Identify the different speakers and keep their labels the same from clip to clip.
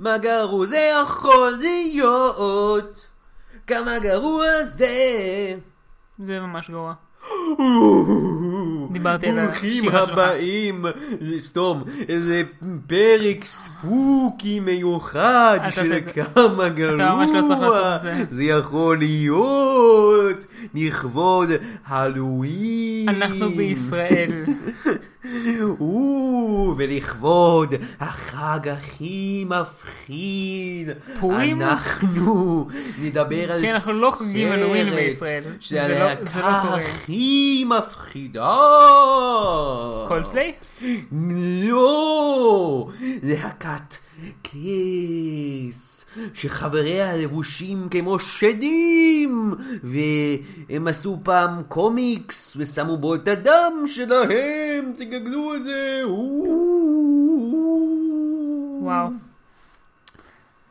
Speaker 1: כמה גרוע זה יכול להיות, כמה גרוע זה.
Speaker 2: זה ממש גרוע. דיברתי על
Speaker 1: ברוכים
Speaker 2: השירה שלך.
Speaker 1: הבאים, סתום, איזה פרק ספוקי מיוחד
Speaker 2: אל תעשה
Speaker 1: של
Speaker 2: את זה.
Speaker 1: כמה גרוע.
Speaker 2: אתה ממש לא צריך לעשות את זה.
Speaker 1: זה יכול להיות לכבוד הלואין.
Speaker 2: אנחנו בישראל.
Speaker 1: או, ולכבוד החג הכי מפחיד,
Speaker 2: פורים?
Speaker 1: אנחנו נדבר על
Speaker 2: כן, אנחנו לא חוגגים
Speaker 1: סרט
Speaker 2: הלואוין בישראל.
Speaker 1: שזה
Speaker 2: זה לא- זה לא
Speaker 1: הלהקה
Speaker 2: קורה.
Speaker 1: הכי מפחידה.
Speaker 2: קולדפליי?
Speaker 1: לא! להקת כיס, שחבריה לבושים כמו שדים, והם עשו פעם קומיקס ושמו בו את הדם שלהם, תגגלו את זה!
Speaker 2: וואו.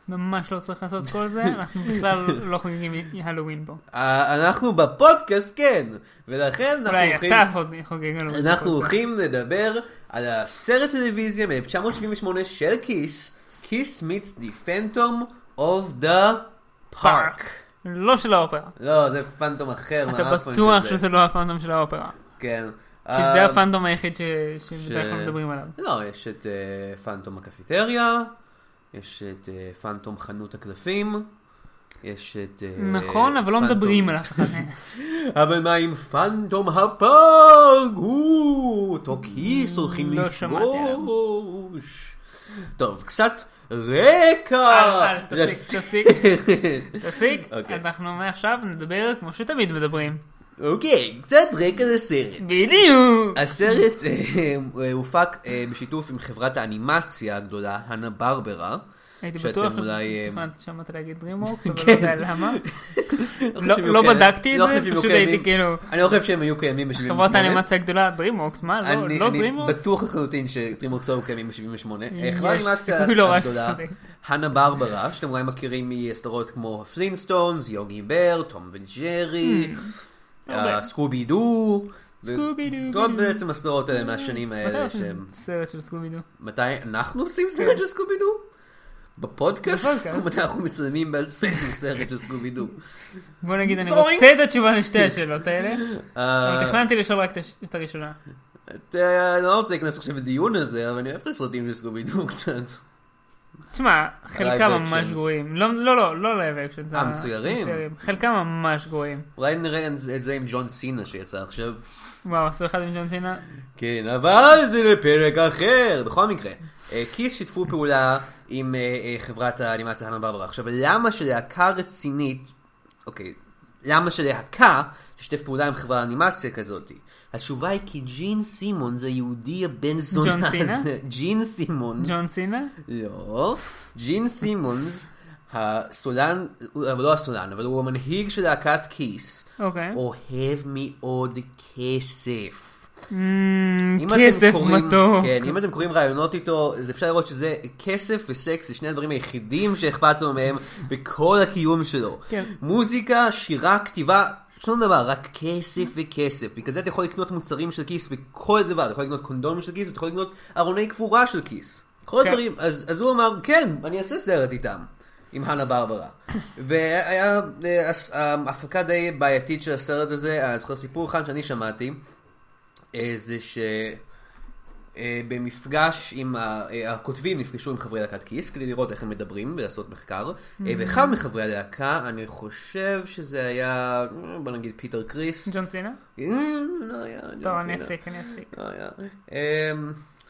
Speaker 2: ממש לא צריך לעשות כל זה, אנחנו בכלל לא חוגגים הלואוין פה.
Speaker 1: אה, אנחנו בפודקאסט כן, ולכן אנחנו
Speaker 2: אולי
Speaker 1: הולכים-
Speaker 2: אתה חוג- חוגג הלואוין.
Speaker 1: אנחנו הולכים לדבר על הסרט טלוויזיה מ-1978 של כיס, כיס מיץ די פנטום אוף דה פארק.
Speaker 2: לא של האופרה.
Speaker 1: לא, זה פנטום אחר.
Speaker 2: אתה
Speaker 1: מהאפון
Speaker 2: בטוח
Speaker 1: כזה.
Speaker 2: שזה לא הפאנטום של האופרה.
Speaker 1: כן.
Speaker 2: כי זה הפאנטום היחיד ש- שבדרך
Speaker 1: ש-
Speaker 2: כלל מדברים עליו.
Speaker 1: לא, יש את אה, פאנטום הקפיטריה, יש את אה, פאנטום חנות הקלפים, יש את... אה,
Speaker 2: נכון, אבל לא
Speaker 1: פאנטום-
Speaker 2: מדברים עליו.
Speaker 1: אבל מה עם פנטום הפארק? הוא, אותו כיס הולכים
Speaker 2: לא שמעתי
Speaker 1: לפגוש. טוב, קצת רקע.
Speaker 2: אל, אל, אה, תפסיק,
Speaker 1: לס-
Speaker 2: תפסיק. תפסיק,
Speaker 1: אה, אוקיי.
Speaker 2: אנחנו מעכשיו נדבר כמו שתמיד מדברים.
Speaker 1: אוקיי, קצת רקע לסרט.
Speaker 2: בדיוק!
Speaker 1: הסרט אה, אה, הופק אה, בשיתוף עם חברת האנימציה הגדולה, הנה ברברה.
Speaker 2: הייתי
Speaker 1: שאתם
Speaker 2: בטוח
Speaker 1: אולי, אה,
Speaker 2: שתכננתי שמעת להגיד DreamWorks, אבל
Speaker 1: כן.
Speaker 2: לא יודע למה. לא-
Speaker 1: חושב
Speaker 2: לא
Speaker 1: שהיו
Speaker 2: בדקתי
Speaker 1: לא
Speaker 2: את
Speaker 1: חושב
Speaker 2: זה,
Speaker 1: שהיו
Speaker 2: פשוט
Speaker 1: קיימים.
Speaker 2: הייתי כאילו,
Speaker 1: אני לא חושב שהם היו קיימים ב-78.
Speaker 2: חברות האנימציה הגדולה, DreamWorks, מה? לא
Speaker 1: אני,
Speaker 2: לא
Speaker 1: אני
Speaker 2: DreamWorks?
Speaker 1: בטוח לחלוטין שטרימורקס היו קיימים ב-78.
Speaker 2: יש
Speaker 1: חברת האנימציה
Speaker 2: סיכוי לא רע
Speaker 1: הגדולה,
Speaker 2: שתצודק.
Speaker 1: הנה ברברה, שאתם אולי מכירים מסדרות כמו הפלינסטונס, יוגי בר, תום וג'רי,
Speaker 2: אוקיי.
Speaker 1: אה, סקובי דו. ו-
Speaker 2: סקובי דו.
Speaker 1: כל בעצם הסדרות האלה מהשנים
Speaker 2: מתי
Speaker 1: האלה שהם...
Speaker 2: עושים סרט של סקובידו?
Speaker 1: מתי אנחנו עושים סרט של סקובי דו? בפודקאסט?
Speaker 2: בפודקאסט.
Speaker 1: מתי אנחנו מצלמים בעצמנו סרט של סקובי דו?
Speaker 2: בוא נגיד, אני
Speaker 1: זוינקס.
Speaker 2: רוצה את התשובה לשתי השאלות האלה, אבל
Speaker 1: אה,
Speaker 2: תכננתי לשאול רק את הש- את הראשונה.
Speaker 1: אתה- אני לא רוצה להיכנס עכשיו לדיון הזה, אבל אני אוהב את הסרטים של סקובי דו קצת.
Speaker 2: תשמע, חלקם ממש
Speaker 1: actions.
Speaker 2: גרועים. לא, לא, לא, לא לייב אקשן.
Speaker 1: אה, מצוירים?
Speaker 2: חלקם ממש גרועים.
Speaker 1: אולי נראה את זה עם ג'ון סינה שיצא עכשיו.
Speaker 2: וואו, עשו אחד עם ג'ון סינה?
Speaker 1: כן, אבל זה לפרק אחר. בכל מקרה, אה, כיס שיתפו פעולה עם אה, אה, חברת האנימציה הנה ברברה. עכשיו, למה שלהקה רצינית, אוקיי, למה שלהקה תשתף פעולה עם חברת אנימציה כזאת? התשובה היא כי ג'ין סימון זה יהודי הבן זונה
Speaker 2: ג'ון סינה?
Speaker 1: הזה. ג'ין סימון.
Speaker 2: ג'ון סינה?
Speaker 1: לא, ג'ין סימונס, הסולן, אבל לא הסולן, אבל הוא המנהיג של להקת כיס,
Speaker 2: אוקיי.
Speaker 1: אוהב מאוד כסף.
Speaker 2: אמ,
Speaker 1: אם אתם
Speaker 2: כסף
Speaker 1: קוראים-
Speaker 2: מתוק.
Speaker 1: כן, אם אתם קוראים רעיונות איתו, אז אפשר לראות שזה כסף וסקס, זה שני הדברים היחידים שאכפת לו מהם בכל הקיום שלו.
Speaker 2: כן.
Speaker 1: מוזיקה, שירה, כתיבה, שום דבר, רק כסף וכסף. בגלל זה אתה יכול לקנות מוצרים של כיס בכל דבר, אתה יכול לקנות קונדומים של כיס, ואתה יכול לקנות ארוני קבורה של כיס. כל
Speaker 2: כן.
Speaker 1: הדברים, אז, אז הוא אמר, כן, אני אעשה סרט איתם. עם הנה ברברה. והיה אה, הס- ההפקה די בעייתית של הסרט הזה, אני זוכר סיפור אחד שאני שמעתי, אה, זה שבמפגש עם ה- אה, הכותבים נפגשו עם חברי להקת כיס כדי לראות איך הם מדברים ולעשות מחקר.
Speaker 2: Mm-hmm.
Speaker 1: אה, ואחד מחברי הלהקה, אני חושב שזה היה, אה, בוא נגיד פיטר קריס.
Speaker 2: ג'ון סינה?
Speaker 1: אה, לא היה, אני
Speaker 2: טוב,
Speaker 1: לא
Speaker 2: אני
Speaker 1: יודע.
Speaker 2: אפסיק, אני אפסיק.
Speaker 1: לא היה. אה,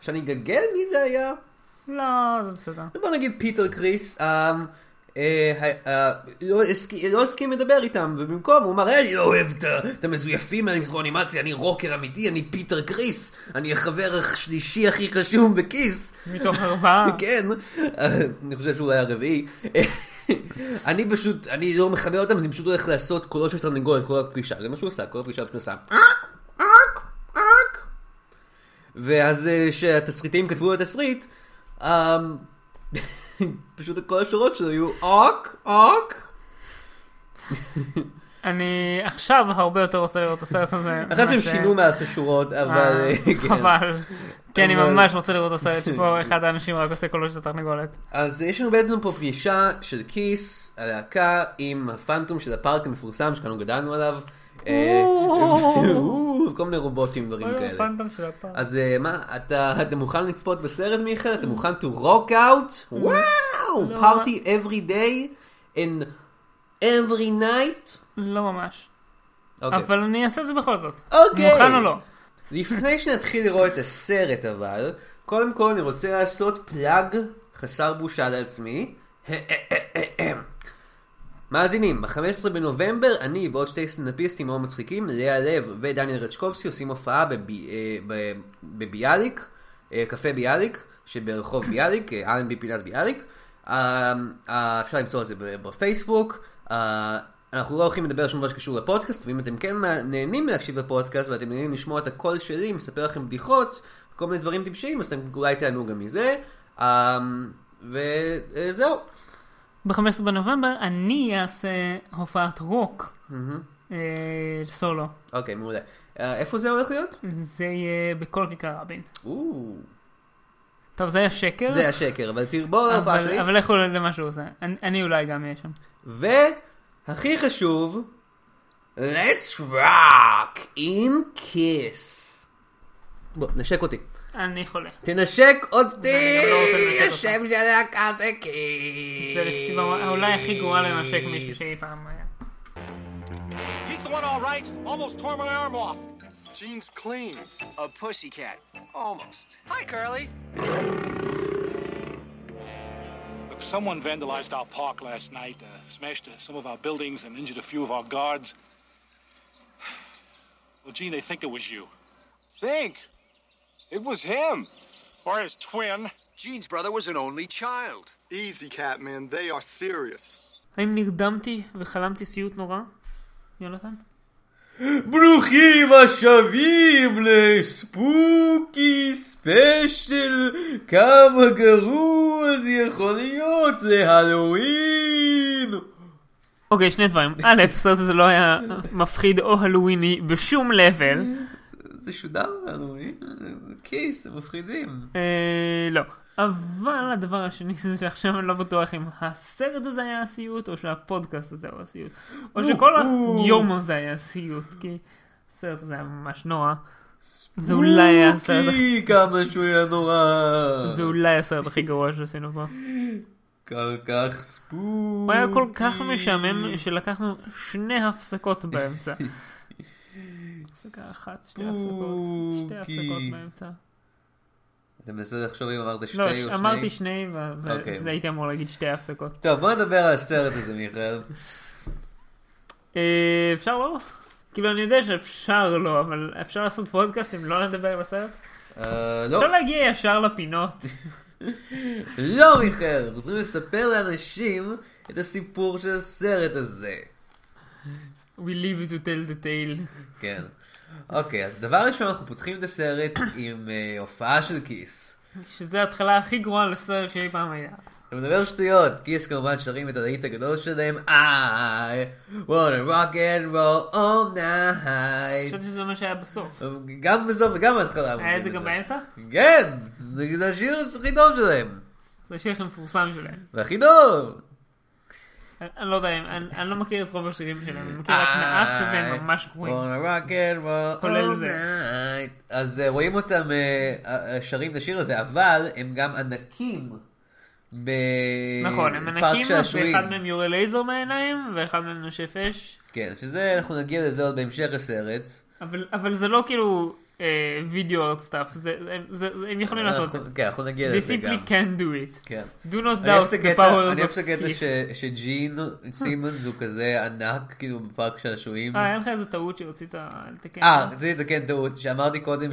Speaker 1: שאני אגגל מי זה היה?
Speaker 2: לא, זה בסדר.
Speaker 1: בוא נגיד פיטר קריס, אה, אה, אה, לא הסכי- לא הסכים לדבר איתם, ובמקום הוא אמר, "אה, אני לא אוהב את ה- את המזויפים האלה מסרון אנימציה, אני רוקר אמיתי, אני פיטר קריס, אני החבר השלישי הכי חשוב בכיס.
Speaker 2: מתוך ארבעה.
Speaker 1: כן, אה, אני חושב שהוא היה הרביעי. אני פשוט, אני לא מכבד אותם, אז אני פשוט הולך לעשות קולות של תרנגולת, כל הפגישה, זה מה שהוא עשה, כל הפגישה פשוט עשה. "אק, אק, אק". ואז אה, כשהתסריטאים כתבו את התסריט, אה, פשוט כל השורות שלו היו אוק, אוק.
Speaker 2: אני עכשיו הרבה יותר רוצה לראות את הסרט הזה.
Speaker 1: אני חושב שהם
Speaker 2: ממה ש-
Speaker 1: שינו מאז את השורות,
Speaker 2: אה,
Speaker 1: אבל... אה, כן.
Speaker 2: חבל. כי אני
Speaker 1: אבל-
Speaker 2: ממש רוצה לראות את הסרט שבו אחד האנשים רק עושה קולות של תרנגולת.
Speaker 1: אז יש לנו בעצם פה פגישה של כיס, הלהקה, עם הפנטום של הפארק המפורסם שכאנו גדלנו עליו. אה, כל מיני רובוטים דברים
Speaker 2: אוי,
Speaker 1: כאלה.
Speaker 2: הפנטום של הפעם.
Speaker 1: אז אה, מה, אתה, אתה מוכן לצפות בסרט מיכאל? אתה מוכן to rock out? וואו!
Speaker 2: Mm. לא.
Speaker 1: party every day and every night?
Speaker 2: לא ממש.
Speaker 1: אוקיי.
Speaker 2: אבל אני אעשה את זה בכל זאת.
Speaker 1: אוקיי.
Speaker 2: מוכן או לא?
Speaker 1: לפני שנתחיל לראות את הסרט אבל, קודם כל אני רוצה לעשות פלאג חסר בושה לעצמי. מאזינים, ב-15 בנובמבר אני ועוד שתי סטנדאפיסטים מאוד מצחיקים, לאה לב ודניאל רצ'קובסקי עושים הופעה בבי- אה, ב- בביאליק, אה, קפה ביאליק, שברחוב ביאליק, אה, אלנבי פינת ביאליק. אה, אה, אפשר למצוא את זה ב- בפייסבוק. אה, אנחנו לא הולכים לדבר על שום דבר שקשור לפודקאסט, ואם אתם כן נהנים להקשיב לפודקאסט ואתם נהנים לשמוע את הקול שלי, מספר לכם בדיחות, כל מיני דברים טיפשיים, אז אתם אולי תענו גם מזה. אה, וזהו.
Speaker 2: ב-15 בנובמבר אני אעשה הופעת רוק אה, סולו.
Speaker 1: אוקיי, מעולה. אה, איפה זה הולך להיות?
Speaker 2: זה יהיה בכל כיכר רבין.
Speaker 1: או,
Speaker 2: טוב, זה היה שקר.
Speaker 1: זה השקר, אבל תראו, בואו להופעה שלי.
Speaker 2: אבל אבל לכו למה שהוא עושה. אני- אני אולי גם אהיה שם.
Speaker 1: והכי חשוב, let's rock עם כיס. בוא, נשק אותי.
Speaker 2: אני חולה.
Speaker 1: תנשק אותי,
Speaker 2: לא רוצה לנשק אותך.
Speaker 1: השם של להקה זה כיס.
Speaker 2: זה הסיבה אולי הכי גרועה לנשק מישהו שאי פעם היה.
Speaker 3: He's the one all right. Almost tore my arm off.
Speaker 4: Jeans clean. A pussycat. Almost.
Speaker 5: Hi, Curly.
Speaker 3: Look, someone vandalized our park last night, uh, smashed uh, some of our buildings, and injured a few of our guards. Well, Gene, they think it was you.
Speaker 4: Think. It was him.
Speaker 3: Or his twin.
Speaker 4: Jean's brother was an only child. Easy, Catman. They are serious.
Speaker 2: האם נרדמתי וחלמתי סיוט נורא? יונתן?
Speaker 1: ברוכים השבים לספוקי ספיישל, כמה גרוע זה יכול להיות, זה הלואוין.
Speaker 2: אוקיי, שני דברים. א', הסרט הזה לא היה מפחיד או הלוויני בשום level.
Speaker 1: זה שודר הלואוין, זה כיס, הם מפחידים.
Speaker 2: אה, לא. אבל הדבר השני זה שעכשיו אני לא בטוח אם הסרט הזה היה הסיוט, או שהפודקאסט הזה הוא הסיוט. או שכל היום הזה היה הסיוט, כי הסרט הזה היה ממש נורא. זה אולי היה הסרט הכי-
Speaker 1: אוקי, כמה שהוא היה נורא.
Speaker 2: זה אולי הסרט הכי גרוע שעשינו פה.
Speaker 1: כל כך ספוקי.
Speaker 2: הוא היה כל כך משעמם שלקחנו שני הפסקות באמצע. הפסקה אחת, שתי הפסקות, שתי הפסקות
Speaker 1: ספוקי.
Speaker 2: באמצע.
Speaker 1: אתה מנסה לחשוב אם אמרת שתי
Speaker 2: לא,
Speaker 1: או שני?
Speaker 2: אמרתי שני, ו-
Speaker 1: אוקיי.
Speaker 2: וזה הייתי אמור להגיד שתי הפסקות.
Speaker 1: טוב, בוא נדבר על הסרט הזה, מיכאל.
Speaker 2: אה, אפשר לא? כאילו אני יודע שאפשר לא, אבל אפשר לעשות פודקאסט אם לא נדבר על הסרט?
Speaker 1: אה, לא.
Speaker 2: אפשר להגיע ישר לפינות.
Speaker 1: לא, מיכאל, אנחנו צריכים לספר לאנשים את הסיפור של הסרט הזה.
Speaker 2: We live to tell the tale.
Speaker 1: כן. אוקיי, אז דבר ראשון, אנחנו פותחים את הסרט עם אה, הופעה של כיס.
Speaker 2: שזה ההתחלה הכי גרועה לסרט שאי פעם היה.
Speaker 1: אתה מדבר שטויות, כיס כמובן שרים את הלהיט הגדול שלהם, I wanna rock and roll all night.
Speaker 2: חשבתי שזה מה שהיה בסוף.
Speaker 1: גם בסוף וגם בהתחלה. הם
Speaker 2: היה
Speaker 1: עושים
Speaker 2: את אה, זה
Speaker 1: את
Speaker 2: גם באמצע?
Speaker 1: כן, זה זה השיר הכי טוב שלהם.
Speaker 2: זה השיר הכי מפורסם שלהם.
Speaker 1: והכי טוב.
Speaker 2: אני אני לא יודע, אני אני לא מכיר את רוב השירים שלהם, אני מכיר אוקיי, רק
Speaker 1: אה,
Speaker 2: מעט והם ממש גרועים.
Speaker 1: wanna rock and roll
Speaker 2: כולל
Speaker 1: all
Speaker 2: זה.
Speaker 1: night. אז אה, רואים אותם אה, אה, שרים את השיר הזה, אבל הם גם ענקים.
Speaker 2: נכון, הם ענקים,
Speaker 1: שעשועים.
Speaker 2: ואחד מהם יורה לייזר מהעיניים, ואחד מהם נושף אש.
Speaker 1: כן, שזה, אנחנו נגיע לזה עוד בהמשך הסרט.
Speaker 2: אבל, אבל זה לא כאילו וידאו ארט סטאף, הם יכולים לעשות את זה.
Speaker 1: אנחנו- כן, אנחנו נגיע
Speaker 2: They
Speaker 1: לזה גם.
Speaker 2: simply can do it.
Speaker 1: כן.
Speaker 2: Do not
Speaker 1: אני אוהב
Speaker 2: doubt
Speaker 1: את
Speaker 2: the
Speaker 1: הקטע- אני
Speaker 2: powers
Speaker 1: אוהב
Speaker 2: of
Speaker 1: את הקטע
Speaker 2: peace.
Speaker 1: ש- שג'ין סימונס הוא כזה ענק, כאילו בפארק שעשועים.
Speaker 2: אה, היה לך איזה טעות שרצית לתקן?
Speaker 1: אה, רציתי לתקן טעות, שאמרתי קודם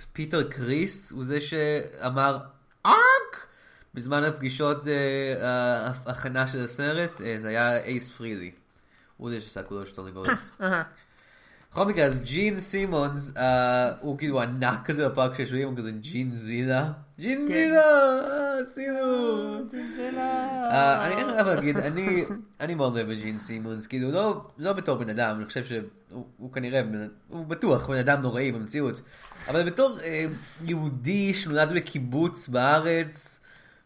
Speaker 1: שפיטר קריס הוא זה שאמר ארק בזמן הפגישות אה, ההכנה של הסרט, אה, זה היה אייס פרילי. הוא זה שעשה כולו של
Speaker 2: אה,
Speaker 1: תרנגולת.
Speaker 2: אהה.
Speaker 1: בכל מקרה, אז ג'ין סימונס, אה, הוא כאילו ענק כזה בפארק של שויים, הוא כזה ג'ין זילה. ג'ינזילה, עשינו. אה, אני אין לי מה להגיד, אני- אני מאוד אוהב את ג'ין סימונס, כאילו לא- לא בתור בן אדם, אני חושב שהוא הוא כנראה, בן- הוא בטוח בן אדם נוראי במציאות, אבל בתור אה, יהודי שנולד בקיבוץ בארץ,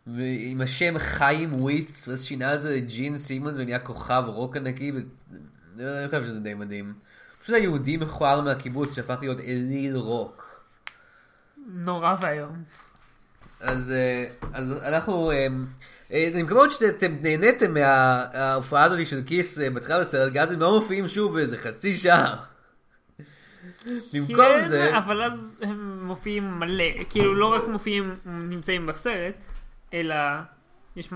Speaker 1: ועם השם חיים וויץ, ואז שינה את זה לג'ין סימונס ונהיה כוכב רוק ענקי, ו- אני חושב שזה די מדהים. פשוט היהודי מכוער מהקיבוץ שהפך להיות אליל רוק.
Speaker 2: נורא ואיום.
Speaker 1: אז, אה, אז אנחנו, אה, אה, אני מקווה מאוד שאתם נהניתם מההופעה הזאת של כיס אה, בתחילת הסרט, כי אז הם לא מופיעים שוב איזה חצי שעה. במקום
Speaker 2: כן,
Speaker 1: זה,
Speaker 2: אבל אז הם מופיעים מלא. כאילו, לא רק מופיעים, נמצאים בסרט, אלא יש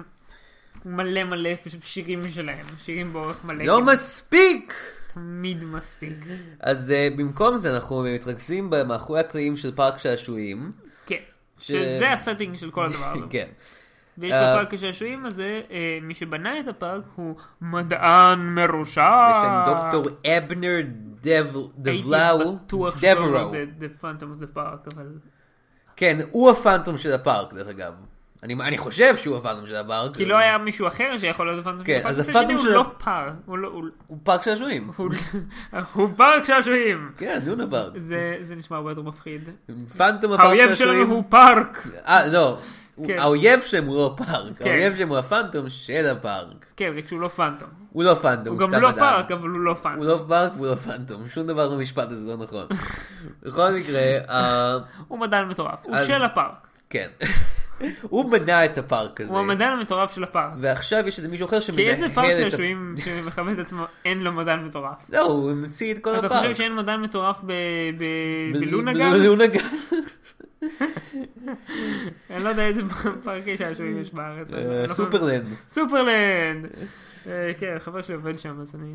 Speaker 2: מלא מלא פשוט שירים שלהם. שירים באורך מלא.
Speaker 1: לא
Speaker 2: כאילו,
Speaker 1: מספיק!
Speaker 2: תמיד מספיק.
Speaker 1: אז אה, במקום זה אנחנו מתרכזים מאחורי הקלעים של פארק שעשועים.
Speaker 2: כן.
Speaker 1: ש-
Speaker 2: שזה הסטינג של כל הדבר הזה.
Speaker 1: כן.
Speaker 2: ויש
Speaker 1: אה,
Speaker 2: בפארק השעשועים הזה, אה, מי שבנה את הפארק הוא מדען מרושע.
Speaker 1: בשם דוקטור אבנר דב- דבלאו.
Speaker 2: הייתי בטוח
Speaker 1: דברו.
Speaker 2: שקוראים לו The Phantom of the Park, אבל...
Speaker 1: כן, הוא הפאנטום של הפארק דרך אגב. אני אני חושב שהוא הפאנטום של הפארק.
Speaker 2: כי לא היה מישהו אחר שיכול להיות הפאנטום של
Speaker 1: כן,
Speaker 2: הפארק.
Speaker 1: אז
Speaker 2: מצד
Speaker 1: הפאנטום
Speaker 2: שני
Speaker 1: של
Speaker 2: הוא
Speaker 1: ה-
Speaker 2: לא פארק, הוא לא... הוא-
Speaker 1: הוא פארק שעשועים.
Speaker 2: הוא- הוא פארק שעשועים.
Speaker 1: כן, לונה פארק.
Speaker 2: זה זה נשמע הרבה יותר מפחיד.
Speaker 1: פנטום הפארק
Speaker 2: האויב
Speaker 1: שעשועים-
Speaker 2: שלנו הוא פארק.
Speaker 1: אה, לא. הוא-
Speaker 2: כן.
Speaker 1: האויב שם הוא לא פארק,
Speaker 2: כן.
Speaker 1: האויב שם הוא הפנטום של הפארק.
Speaker 2: כן, רק שהוא לא פאנטום.
Speaker 1: הוא לא פנטום,
Speaker 2: הוא
Speaker 1: הוא
Speaker 2: גם
Speaker 1: סתם
Speaker 2: לא
Speaker 1: אדם.
Speaker 2: פארק, אבל הוא לא
Speaker 1: הוא
Speaker 2: פאנטום.
Speaker 1: לא פארק והוא לא פנטום, שום דבר במשפט הזה לא נכון. בכל מקרה, אה,
Speaker 2: הוא מדען מטורף. הוא
Speaker 1: אז-
Speaker 2: של הפארק.
Speaker 1: כן. הוא בנה את הפארק הזה,
Speaker 2: הוא המדען המטורף של הפארק.
Speaker 1: ועכשיו יש איזה מישהו אחר
Speaker 2: כי
Speaker 1: שמנהל
Speaker 2: איזה
Speaker 1: את
Speaker 2: פארק
Speaker 1: הפארק.
Speaker 2: שעשועים שמכבד את עצמו אין לו מדען מטורף?
Speaker 1: לא, הוא המציא את כל
Speaker 2: אתה
Speaker 1: הפארק.
Speaker 2: חושב שאין מדען מטורף ב- ב- בלונה
Speaker 1: ב-
Speaker 2: גן?
Speaker 1: בלונה גן.
Speaker 2: אני לא יודע איזה פארקי שעשועים יש בארץ. אני לא-
Speaker 1: אה, סופרלנד.
Speaker 2: סופרלנד! אה, כן, חבר שלי עובד שם, אז אני...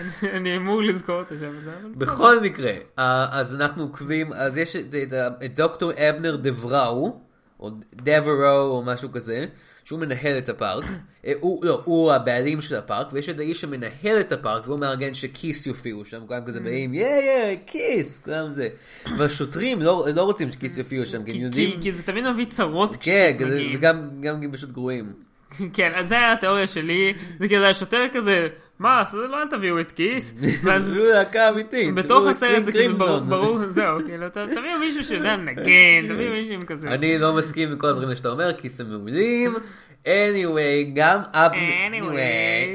Speaker 2: אני- אני אמור לזכור אותו שם. אבל-
Speaker 1: בכל מקרה, אה, אז אנחנו עוקבים, אז יש את- את ה- את דוקטור אבנר דבראו, או דברו או משהו כזה, שהוא מנהל את הפארק, אה, הוא, לא, הוא הבעלים של הפארק, ויש את האיש שמנהל את הפארק, והוא מארגן שכיס יופיעו שם, כולם
Speaker 2: Mm.
Speaker 1: כזה באים, יא יא, כיס, כולם זה. והשוטרים לא לא רוצים שכיס יופיעו שם, כי הם
Speaker 2: כי-
Speaker 1: יודעים,
Speaker 2: כי- כי זה תמיד מביא צרות
Speaker 1: כן,
Speaker 2: כשכיס מגיעים.
Speaker 1: וגם גם הם פשוט גרועים.
Speaker 2: כן, אז זה היה התיאוריה שלי. זה כזה השוטר כזה, מה, אז לא אל תביאו את כיס. ואז
Speaker 1: זו להקה אמיתית.
Speaker 2: בתוך
Speaker 1: הוא
Speaker 2: הסרט זה כזה
Speaker 1: קרינג
Speaker 2: ברור,
Speaker 1: קרימזון.
Speaker 2: ברור, זהו, כאילו, ת- תביאו מישהו שיודע לנגן, תביאו מישהו עם כזה.
Speaker 1: אני לא מסכים עם כל הדברים שאתה אומר, כי זה מעולים. anyway, גם אבנר,
Speaker 2: Anyway.
Speaker 1: anyway,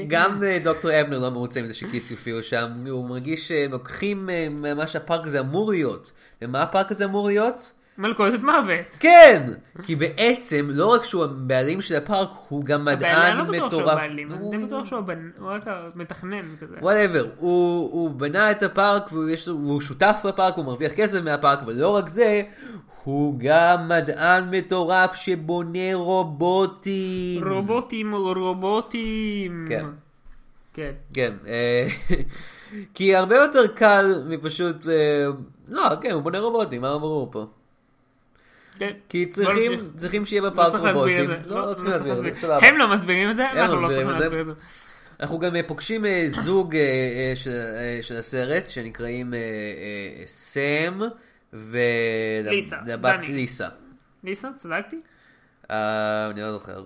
Speaker 1: גם אה, דוקטור אבנר לא מרוצה מזה שכיס יופיעו שם, הוא מרגיש שהם לוקחים אה, ממה שהפארק הזה אמור להיות. ומה הפארק הזה אמור להיות?
Speaker 2: מלכודת מוות.
Speaker 1: כן! כי בעצם, לא רק שהוא הבעלים של הפארק, הוא גם
Speaker 2: הבעלים,
Speaker 1: מדען
Speaker 2: אני לא בטוח שהוא
Speaker 1: מטורף.
Speaker 2: הבעלים, אני די בטוח שהוא הבנ- הוא רק המתכנן כזה.
Speaker 1: וואטאבר, הוא, הוא בנה את הפארק והוא, יש, לו- והוא שותף בפארק, הוא מרוויח כסף מהפארק, אבל לא רק זה, הוא גם מדען מטורף שבונה רובוטים.
Speaker 2: רובוטים, רובוטים.
Speaker 1: כן.
Speaker 2: כן.
Speaker 1: כן, אה, כי הרבה יותר קל מפשוט, אה, לא, כן, הוא בונה רובוטים, מה אמרו פה?
Speaker 2: כן.
Speaker 1: כי
Speaker 2: בוא
Speaker 1: צריכים,
Speaker 2: נמשיך.
Speaker 1: צריכים שיהיה
Speaker 2: לא
Speaker 1: בפארק
Speaker 2: צריך להסביר את
Speaker 1: רובוטים.
Speaker 2: זה.
Speaker 1: לא, לא צריכים להסביר את זה, סבבה.
Speaker 2: הם לא מסבירים את זה,
Speaker 1: הם
Speaker 2: אנחנו לא
Speaker 1: מסבירים
Speaker 2: צריכים
Speaker 1: את זה.
Speaker 2: להסביר את זה.
Speaker 1: אנחנו גם אה, פוגשים אה, זוג אה, אה, של- אה, של הסרט שנקראים אה, אה, סם
Speaker 2: ליסה,
Speaker 1: ולבת
Speaker 2: דני.
Speaker 1: ליסה.
Speaker 2: ניסן, צדקתי?
Speaker 1: אה, אני לא זוכר.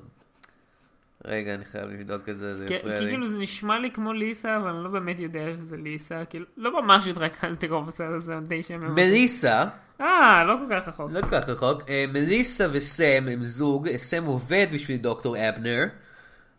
Speaker 1: רגע, אני חייב לבדוק את זה, זה
Speaker 2: כי כי
Speaker 1: יפריע לי.
Speaker 2: כאילו זה נשמע לי כמו ליסה, אבל אני לא באמת יודע שזה ליסה. כאילו, לא ממש התרכזתי כל בסרט הזה, די שם.
Speaker 1: מליסה,
Speaker 2: אה, לא כל כך רחוק.
Speaker 1: לא כל כך רחוק, אה, מליסה וסם הם זוג, אה, סם עובד בשביל דוקטור אבנר.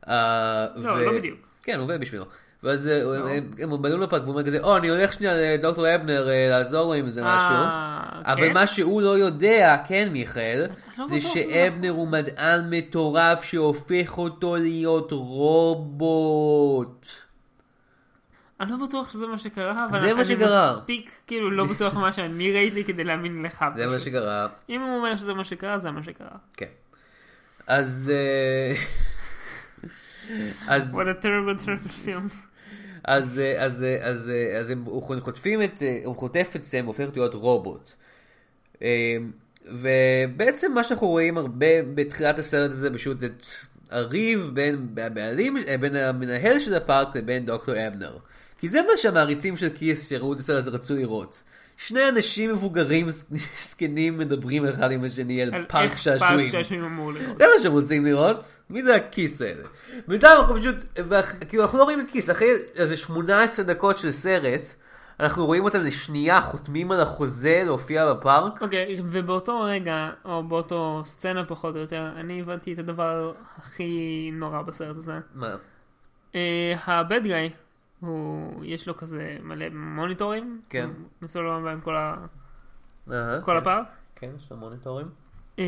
Speaker 1: אה,
Speaker 2: לא,
Speaker 1: ו-
Speaker 2: לא בדיוק. לא.
Speaker 1: כן, הוא עובד בשבילו. ואז אה, הם- הם- הם בנו לפארק והוא אומר כזה, או, אני הולך שנייה לדוקטור אבנר אה, לעזור לו עם איזה משהו.
Speaker 2: אה,
Speaker 1: אבל
Speaker 2: כן?
Speaker 1: מה שהוא לא יודע, כן מיכאל,
Speaker 2: לא
Speaker 1: זה
Speaker 2: בטוח שזה
Speaker 1: שאבנר הוא מדען מטורף שהופך אותו להיות רובוט.
Speaker 2: אני לא בטוח שזה מה שקרה, אבל
Speaker 1: זה מה
Speaker 2: אני
Speaker 1: שקרה.
Speaker 2: מספיק, כאילו, לא בטוח מה שאני ראיתי כדי להאמין לך.
Speaker 1: זה מה
Speaker 2: פשוט.
Speaker 1: שקרה,
Speaker 2: אם הוא אומר שזה מה שקרה, זה מה שקרה.
Speaker 1: כן. אז... אה, אז,
Speaker 2: What a terrible terrible film.
Speaker 1: אז, אה, אז, אה, אז, אה, אז הם הוא חוטפים את, אה, הוא חוטף את סם, הופך להיות רובוט. אה, ובעצם מה שאנחנו רואים הרבה בתחילת הסרט הזה, פשוט את הריב בין הבעלים, אה, בין המנהל של הפארק לבין דוקטור אבנר. כי זה מה שהמעריצים של כיס שראו את הסרט הזה רצו לראות. שני אנשים מבוגרים ז- זקנים מדברים אחד עם השני על
Speaker 2: על
Speaker 1: פארק
Speaker 2: איך
Speaker 1: שעשועים.
Speaker 2: פארק שעשועים אמור להיות.
Speaker 1: זה מה שהם רוצים לראות, מי זה הכיס האלה? בינתיים אנחנו פשוט, ואח- כאילו אנחנו לא רואים את כיס, אחרי איזה 18 דקות של סרט, אנחנו רואים אותם לשנייה, חותמים על החוזה להופיע בפארק.
Speaker 2: אוקיי, ובאותו רגע, או באותו סצנה פחות או יותר, אני הבנתי את הדבר הכי נורא בסרט הזה.
Speaker 1: מה?
Speaker 2: אה, הבד גאי, הוא, יש לו כזה מלא מוניטורים.
Speaker 1: כן.
Speaker 2: הוא מסולמן בהם כל, ה,
Speaker 1: אהה,
Speaker 2: כל
Speaker 1: כן.
Speaker 2: הפארק.
Speaker 1: כן, יש לו מוניטורים.
Speaker 2: אמ,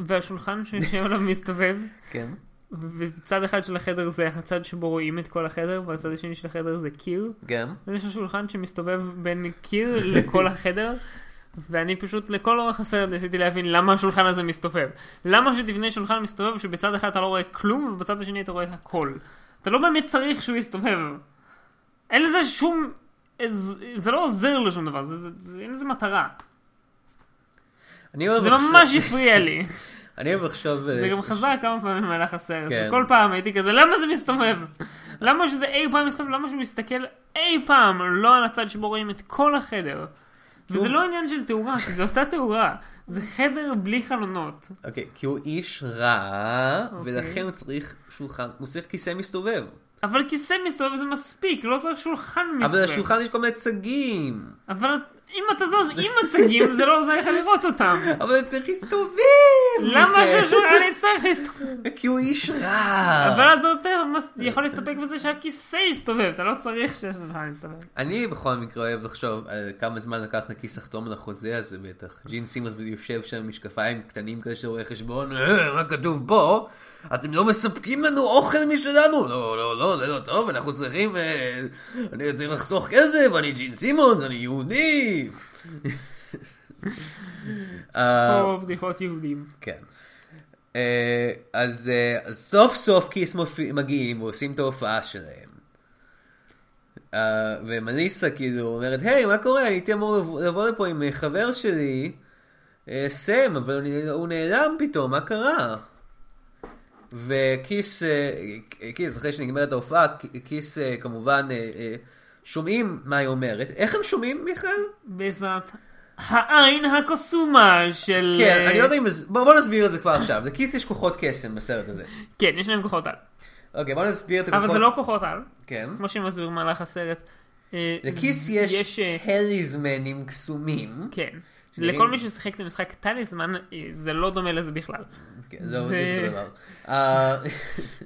Speaker 2: והשולחן שיושב עליו מסתובב,
Speaker 1: כן.
Speaker 2: ובצד אחד של החדר זה הצד שבו רואים את כל החדר, והצד השני של החדר זה קיר.
Speaker 1: גם.
Speaker 2: אז יש לו שולחן שמסתובב בין קיר לכל החדר, ואני פשוט לכל אורך הסרט ניסיתי להבין למה השולחן הזה מסתובב. למה שתבנה שולחן מסתובב שבצד אחד אתה לא רואה כלום, ובצד השני אתה רואה את הכל. אתה לא באמת צריך שהוא יסתובב. אין לזה שום... זה- זה לא עוזר לשום דבר, זה, זה, זה, אין לזה מטרה.
Speaker 1: אני אוהב
Speaker 2: זה
Speaker 1: לחשוב-
Speaker 2: ממש הפריע לי.
Speaker 1: אני אוהב לחשוב... אה,
Speaker 2: זה גם חזר כמה פעמים במהלך הסרט.
Speaker 1: כן.
Speaker 2: וכל פעם הייתי כזה, למה זה מסתובב? למה שזה אי פעם מסתובב? למה שהוא מסתכל אי פעם לא על הצד שבו רואים את כל החדר? וזה לא עניין של תאורה, כי זו אותה תאורה. זה חדר בלי חלונות.
Speaker 1: אוקיי, כי הוא איש רע,
Speaker 2: אוקיי.
Speaker 1: ולכן הוא צריך שולחן, הוא צריך כיסא מסתובב.
Speaker 2: אבל כיסא מסתובב זה מספיק, לא צריך שולחן מסתובב.
Speaker 1: אבל לשולחן יש כל מיני צגים.
Speaker 2: אבל אם אתה זוז עם מצגים, זה לא עוזר לך לראות אותם.
Speaker 1: אבל הוא צריך להסתובב.
Speaker 2: למה
Speaker 1: מיכאל.
Speaker 2: שהשולחן יצטרך להסתובב?
Speaker 1: כי הוא איש רע.
Speaker 2: אבל אז אתה מס- יכול להסתפק בזה שהכיסא יסתובב, אתה לא צריך שהשולחן יסתובב.
Speaker 1: אני בכל מקרה אוהב לחשוב על כמה זמן לקח לכיס לחתום על החוזה הזה בטח. ג'ין סימוס יושב שם עם משקפיים קטנים כאלה של רואה חשבון, "אה, מה כתוב פה? אתם לא מספקים לנו אוכל משלנו? לא, לא, לא, זה לא טוב, אנחנו צריכים... אה, אני צריך לחסוך כסף, אני ג'ין סימוס, אני יהודי. אה,
Speaker 2: או בדיחות יהודים.
Speaker 1: כן. אה, אז אה, אז סוף סוף כיס מופיע- מגיעים ועושים את ההופעה שלהם. אה, ומליסה כאילו אומרת, היי, מה קורה? אני הייתי אמור לבוא- לבוא לפה עם אה, חבר שלי, אה, סם, אבל הוא- הוא נעלם פתאום, מה קרה? וכיס, אה, אה, כיס, אחרי שנגמרת ההופעה, כ- כיס אה, כמובן אה, אה, שומעים מה היא אומרת. איך הם שומעים, מיכאל?
Speaker 2: בעזרת העין הקוסומה של...
Speaker 1: כן, אני לא יודע אם... זה- בוא בוא נסביר את זה כבר עכשיו. לכיס יש כוחות קסם בסרט הזה.
Speaker 2: כן, יש להם כוחות על.
Speaker 1: אוקיי, בוא נסביר את הכוחות.
Speaker 2: אבל זה לא כוחות על,
Speaker 1: כן.
Speaker 2: כמו שמסביר במהלך הסרט. אה,
Speaker 1: לכיס
Speaker 2: זה-
Speaker 1: יש,
Speaker 2: אה,
Speaker 1: טליזמנים קסומים.
Speaker 2: כן.
Speaker 1: שנראים-
Speaker 2: לכל מי ששיחק את המשחק טליזמן, אה, זה לא דומה לזה בכלל.
Speaker 1: כן, זה
Speaker 2: זה-
Speaker 1: אותו דבר. אה,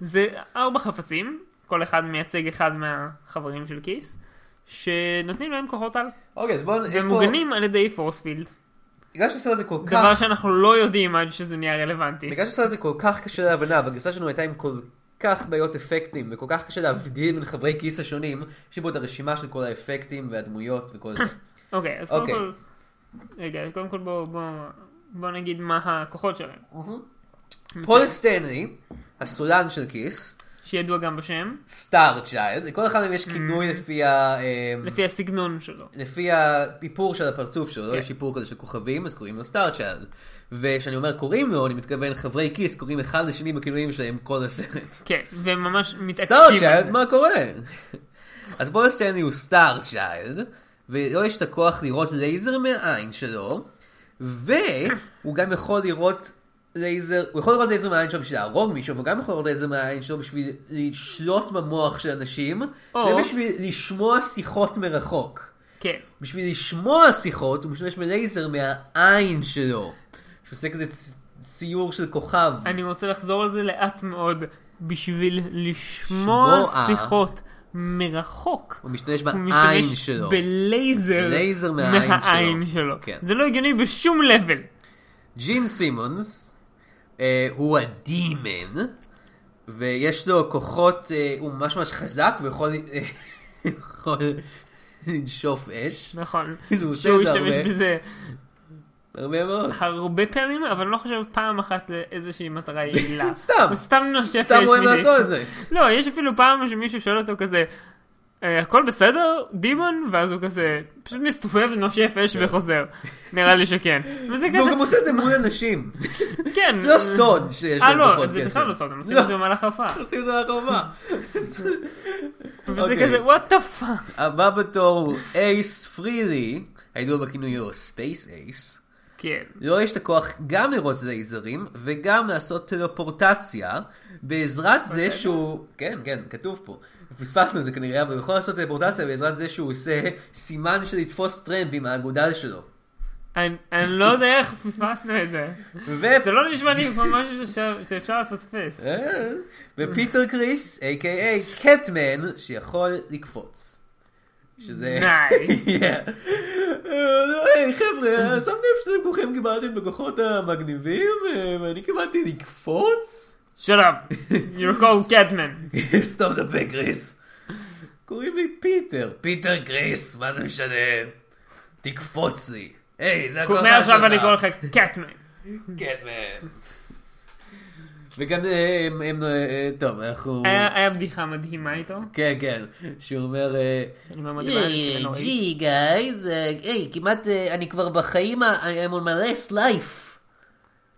Speaker 2: זה ארבע חפצים, כל אחד מייצג אחד מהחברים של כיס, שנותנים להם כוחות על.
Speaker 1: אוקיי, אז בואו...
Speaker 2: הם מוגנים על ידי פורספילד,
Speaker 1: בגלל שהסרט הזה כל
Speaker 2: דבר
Speaker 1: כך...
Speaker 2: שאנחנו לא יודעים עד שזה נהיה רלוונטי.
Speaker 1: בגלל שהסרט הזה כל כך קשה להבנה, והגרסה שלנו הייתה עם כל כך בעיות אפקטים, וכל כך קשה להבדיל בין חברי כיס השונים, יש לי פה את הרשימה של כל האפקטים והדמויות וכל זה.
Speaker 2: אוקיי, אז קודם
Speaker 1: אוקיי.
Speaker 2: כל... רגע, קודם כל בואו בוא, בוא נגיד מה הכוחות שלהם.
Speaker 1: פול סטנלי, הסולן של כיס,
Speaker 2: שידוע גם בשם,
Speaker 1: אוקיי. סטאר צ'יילד, לכל אחד מהם יש
Speaker 2: Mm.
Speaker 1: כינוי לפי ה... אה,
Speaker 2: לפי הסגנון שלו.
Speaker 1: לפי האיפור של הפרצוף שלו, לא
Speaker 2: כן.
Speaker 1: יש איפור כזה של כוכבים, אז קוראים לו סטארצ'ארד. וכשאני אומר קוראים לו, אני מתכוון חברי כיס קוראים אחד לשני בכינויים שלהם כל הסרט.
Speaker 2: כן, והם ממש מתעקשים על
Speaker 1: סטארצ'יילד,
Speaker 2: זה.
Speaker 1: מה קורה? אז בואו נסיים הוא סטארצ'יילד, ולא יש את הכוח לראות לייזר מהעין שלו, והוא גם יכול לראות לייזר, הוא יכול לראות לייזר מהעין שלו בשביל להרוג מישהו, אבל הוא גם יכול לראות לייזר מהעין שלו בשביל לשלוט במוח של אנשים,
Speaker 2: או-
Speaker 1: ובשביל לשמוע שיחות מרחוק.
Speaker 2: כן,
Speaker 1: בשביל לשמוע שיחות הוא משתמש בלייזר מהעין שלו. שעושה כזה צ- ציור של כוכב.
Speaker 2: אני רוצה לחזור על זה לאט מאוד, בשביל לשמוע
Speaker 1: שמוע.
Speaker 2: שיחות מרחוק.
Speaker 1: הוא משתמש
Speaker 2: הוא
Speaker 1: בעין
Speaker 2: משתמש
Speaker 1: שלו.
Speaker 2: בלייזר
Speaker 1: לייזר מהעין שלו.
Speaker 2: שלו.
Speaker 1: כן.
Speaker 2: זה לא הגיוני בשום לבל.
Speaker 1: ג'ין סימונס אה, הוא הדימן, ויש לו כוחות, אה, הוא ממש ממש חזק ויכול אה, יכול לנשוף אש.
Speaker 2: נכון.
Speaker 1: הוא עושה
Speaker 2: שהוא
Speaker 1: את זה
Speaker 2: השתמש
Speaker 1: הרבה.
Speaker 2: בזה
Speaker 1: הרבה מאוד.
Speaker 2: הרבה פעמים, אבל אני לא חושב פעם אחת לאיזושהי מטרה יעילה.
Speaker 1: סתם.
Speaker 2: הוא סתם נושף
Speaker 1: סתם
Speaker 2: אש
Speaker 1: אוהב
Speaker 2: מדי.
Speaker 1: לעשות את זה.
Speaker 2: לא, יש אפילו פעם שמישהו שואל אותו כזה, אה, הכל בסדר, דימון, ואז הוא כזה, פשוט מסתובב, נושף אש
Speaker 1: כן.
Speaker 2: וחוזר. נראה לי שכן. וזה
Speaker 1: והוא גם
Speaker 2: כזה,
Speaker 1: עושה את זה מול אנשים.
Speaker 2: כן.
Speaker 1: לא, זה לא סוד שיש
Speaker 2: אה,
Speaker 1: להם
Speaker 2: לא,
Speaker 1: פחות כסף.
Speaker 2: זה בכלל לא סוד, הם עושים את זה במהלך ההופעה.
Speaker 1: עושים את זה לקרובה.
Speaker 2: וזה
Speaker 1: אוקיי.
Speaker 2: כזה, וואט דה פאק.
Speaker 1: הבא בתור הוא אייס פרילי, הידוע בכינויו ספייס אייס.
Speaker 2: כן.
Speaker 1: לו יש את הכוח גם לראות לייזרים וגם לעשות טלפורטציה בעזרת זה
Speaker 2: אוקיי.
Speaker 1: שהוא... כן, כן, כתוב פה. פספסנו את זה כנראה, אבל הוא יכול לעשות טלפורטציה בעזרת זה שהוא עושה סימן של לתפוס טרמפ עם האגודל שלו.
Speaker 2: אני אני לא יודע איך פספסנו את זה.
Speaker 1: ו...
Speaker 2: זה לא נשמע לי כמו משהו שאפשר- שאפשר לפספס.
Speaker 1: אה, ופיטר קריס, a.k.a. קטמן, שיכול לקפוץ. שזה...
Speaker 2: Nice.
Speaker 1: Yeah. אה, היי חבר'ה, שם לב שאתם כולכם קיבלתם בכוחות המגניבים, אה, ואני קיבלתי לקפוץ?
Speaker 2: shut up, you're called Catman.
Speaker 1: סתום את הפה קריס. קוראים לי פיטר. פיטר קריס, מה זה משנה? תקפוץ לי. היי, זה הכוח שלך.
Speaker 2: מעכשיו אני קורא לך Catman.
Speaker 1: קטמן. וגם אה, הם, הם, אה, טוב, אנחנו...
Speaker 2: היה היה בדיחה מדהימה איתו.
Speaker 1: כן, כן, שהוא אומר, אה,
Speaker 2: אני מאוד
Speaker 1: "אה,
Speaker 2: הבנתי, ונוראית."
Speaker 1: ג'י גייז, אה, היי, כמעט, אה, אני כבר בחיים, ה- I'm on my last life.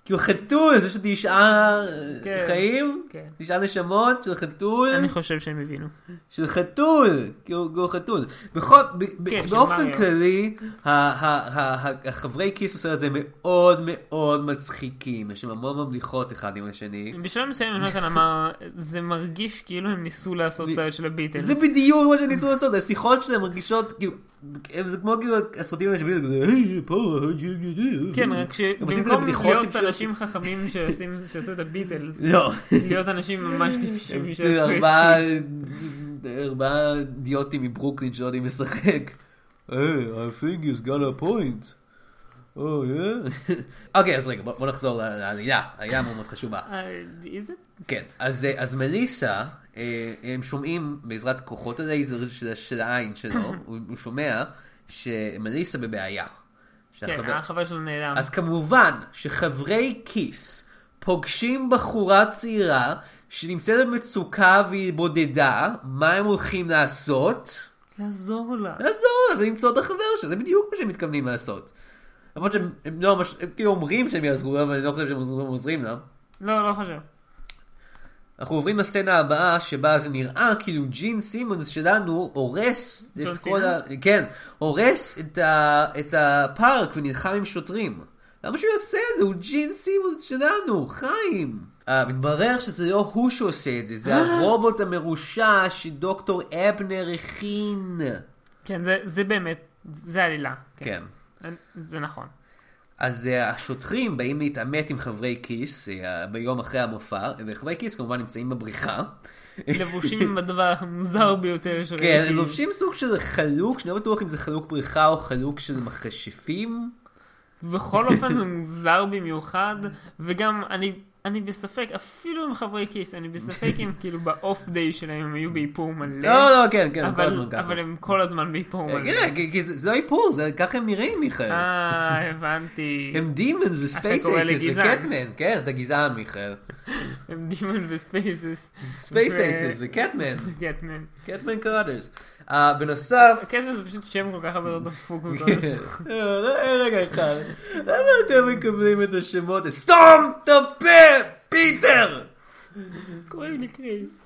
Speaker 1: כאילו חתול, זה שתשעה אה,
Speaker 2: כן,
Speaker 1: חיים,
Speaker 2: כן.
Speaker 1: תשעה נשמות של חתול,
Speaker 2: אני חושב שהם הבינו.
Speaker 1: של חתול, כאילו כאילו חתול. בכל, ב- ב-
Speaker 2: כן, של
Speaker 1: באופן
Speaker 2: מריו.
Speaker 1: כללי, ה- ה- ה- ה- החברי כיס בסרט הזה מאוד מאוד מצחיקים, יש להם המון ממליחות אחד עם השני.
Speaker 2: בשלב מסוים יונתן אמר, זה מרגיש כאילו הם ניסו לעשות
Speaker 1: זה-
Speaker 2: סרט של הביטלס.
Speaker 1: זה בדיוק מה שניסו לעשות, השיחות שלהם מרגישות כאילו, הם- זה כמו כאילו הסרטים האלה שבדיוק, היי, פה,
Speaker 2: כן, רק
Speaker 1: הם עושים כזה
Speaker 2: שבמקום
Speaker 1: בדיחות
Speaker 2: להיות
Speaker 1: טיפשיות.
Speaker 2: אנשים חכמים שעושים- שעשו את הביטלס,
Speaker 1: לא,
Speaker 2: להיות אנשים ממש טיפשים
Speaker 1: זה
Speaker 2: שעשו את
Speaker 1: ארבעה-
Speaker 2: כיס.
Speaker 1: ארבעה אידיוטים מברוקלין שלא יודעים לשחק. היי, I think he's got a point. Oh, yeah. אוקיי, אז רגע, בוא בוא נחזור ל- לעלילה, העלילה מאוד מאוד חשובה.
Speaker 2: אה, is it?
Speaker 1: כן, אז, אה, אז מליסה, אה, הם שומעים בעזרת כוחות הלייזר של, של העין שלו, הוא, הוא שומע שמליסה בבעיה.
Speaker 2: כן,
Speaker 1: שהחבר-
Speaker 2: החבר שלו נעלם.
Speaker 1: אז כמובן שחברי כיס פוגשים בחורה צעירה שנמצאת במצוקה והיא בודדה, מה הם הולכים לעשות?
Speaker 2: לעזור לה.
Speaker 1: לעזור לה ולמצוא את החבר שלה, זה בדיוק מה שהם מתכוונים לעשות. למרות שהם הם לא ממש, הם כאילו אומרים שהם יעזרו לה, אבל אני לא חושב שהם עוזרים- עוזרים לה.
Speaker 2: לא, לא חושב.
Speaker 1: אנחנו עוברים לסצנה הבאה שבה זה נראה כאילו ג'ין סימונס שלנו הורס
Speaker 2: ג'ון
Speaker 1: את כל ה... כן, הורס את, ה... את הפארק ונלחם עם שוטרים. למה שהוא יעשה את זה? הוא ג'ין סימונס שלנו, חיים. אה, מתברר שזה לא הוא שעושה את זה, זה
Speaker 2: אה.
Speaker 1: הרובוט המרושע שדוקטור אבנר הכין.
Speaker 2: כן, זה- זה באמת, זה עלילה.
Speaker 1: כן.
Speaker 2: אני- זה נכון.
Speaker 1: אז אה, השוטרים באים להתעמת עם חברי כיס אה, ביום אחרי המופע, וחברי כיס כמובן נמצאים בבריכה.
Speaker 2: לבושים בדבר המוזר ביותר שראיתי.
Speaker 1: כן, הם לובשים סוג של חלוק, שאני לא בטוח אם זה חלוק בריכה או חלוק של מכשפים.
Speaker 2: בכל אופן זה מוזר במיוחד, וגם אני... אני בספק, אפילו עם חברי כיס, אני בספק אם כאילו באוף דיי שלהם הם היו באיפור מלא.
Speaker 1: לא, לא, כן, כן, הם כל
Speaker 2: אבל,
Speaker 1: הזמן ככה.
Speaker 2: אבל הם כל הזמן באיפור
Speaker 1: אה,
Speaker 2: מלא.
Speaker 1: כן, כי- כי זה זה לא איפור, זה- ככה הם נראים, מיכאל.
Speaker 2: אה, הבנתי.
Speaker 1: הם דימונס וספייס
Speaker 2: קורא לי
Speaker 1: אייסס
Speaker 2: גזען.
Speaker 1: וקטמן, כן, אתה גזען, מיכאל.
Speaker 2: הם דימון וספייסס.
Speaker 1: ספייס אייסס וקטמן,
Speaker 2: וקטמן.
Speaker 1: קטמן קראדרס. אה, בנוסף...
Speaker 2: קטמן זה פשוט שם כל כך הרבה יותר דפוק.
Speaker 1: כן.
Speaker 2: מכל השאר.
Speaker 1: אה, רגע אחד, למה אתם מקבלים את השמות? סתום את הפה, פיטר!
Speaker 2: קוראים לי קריס.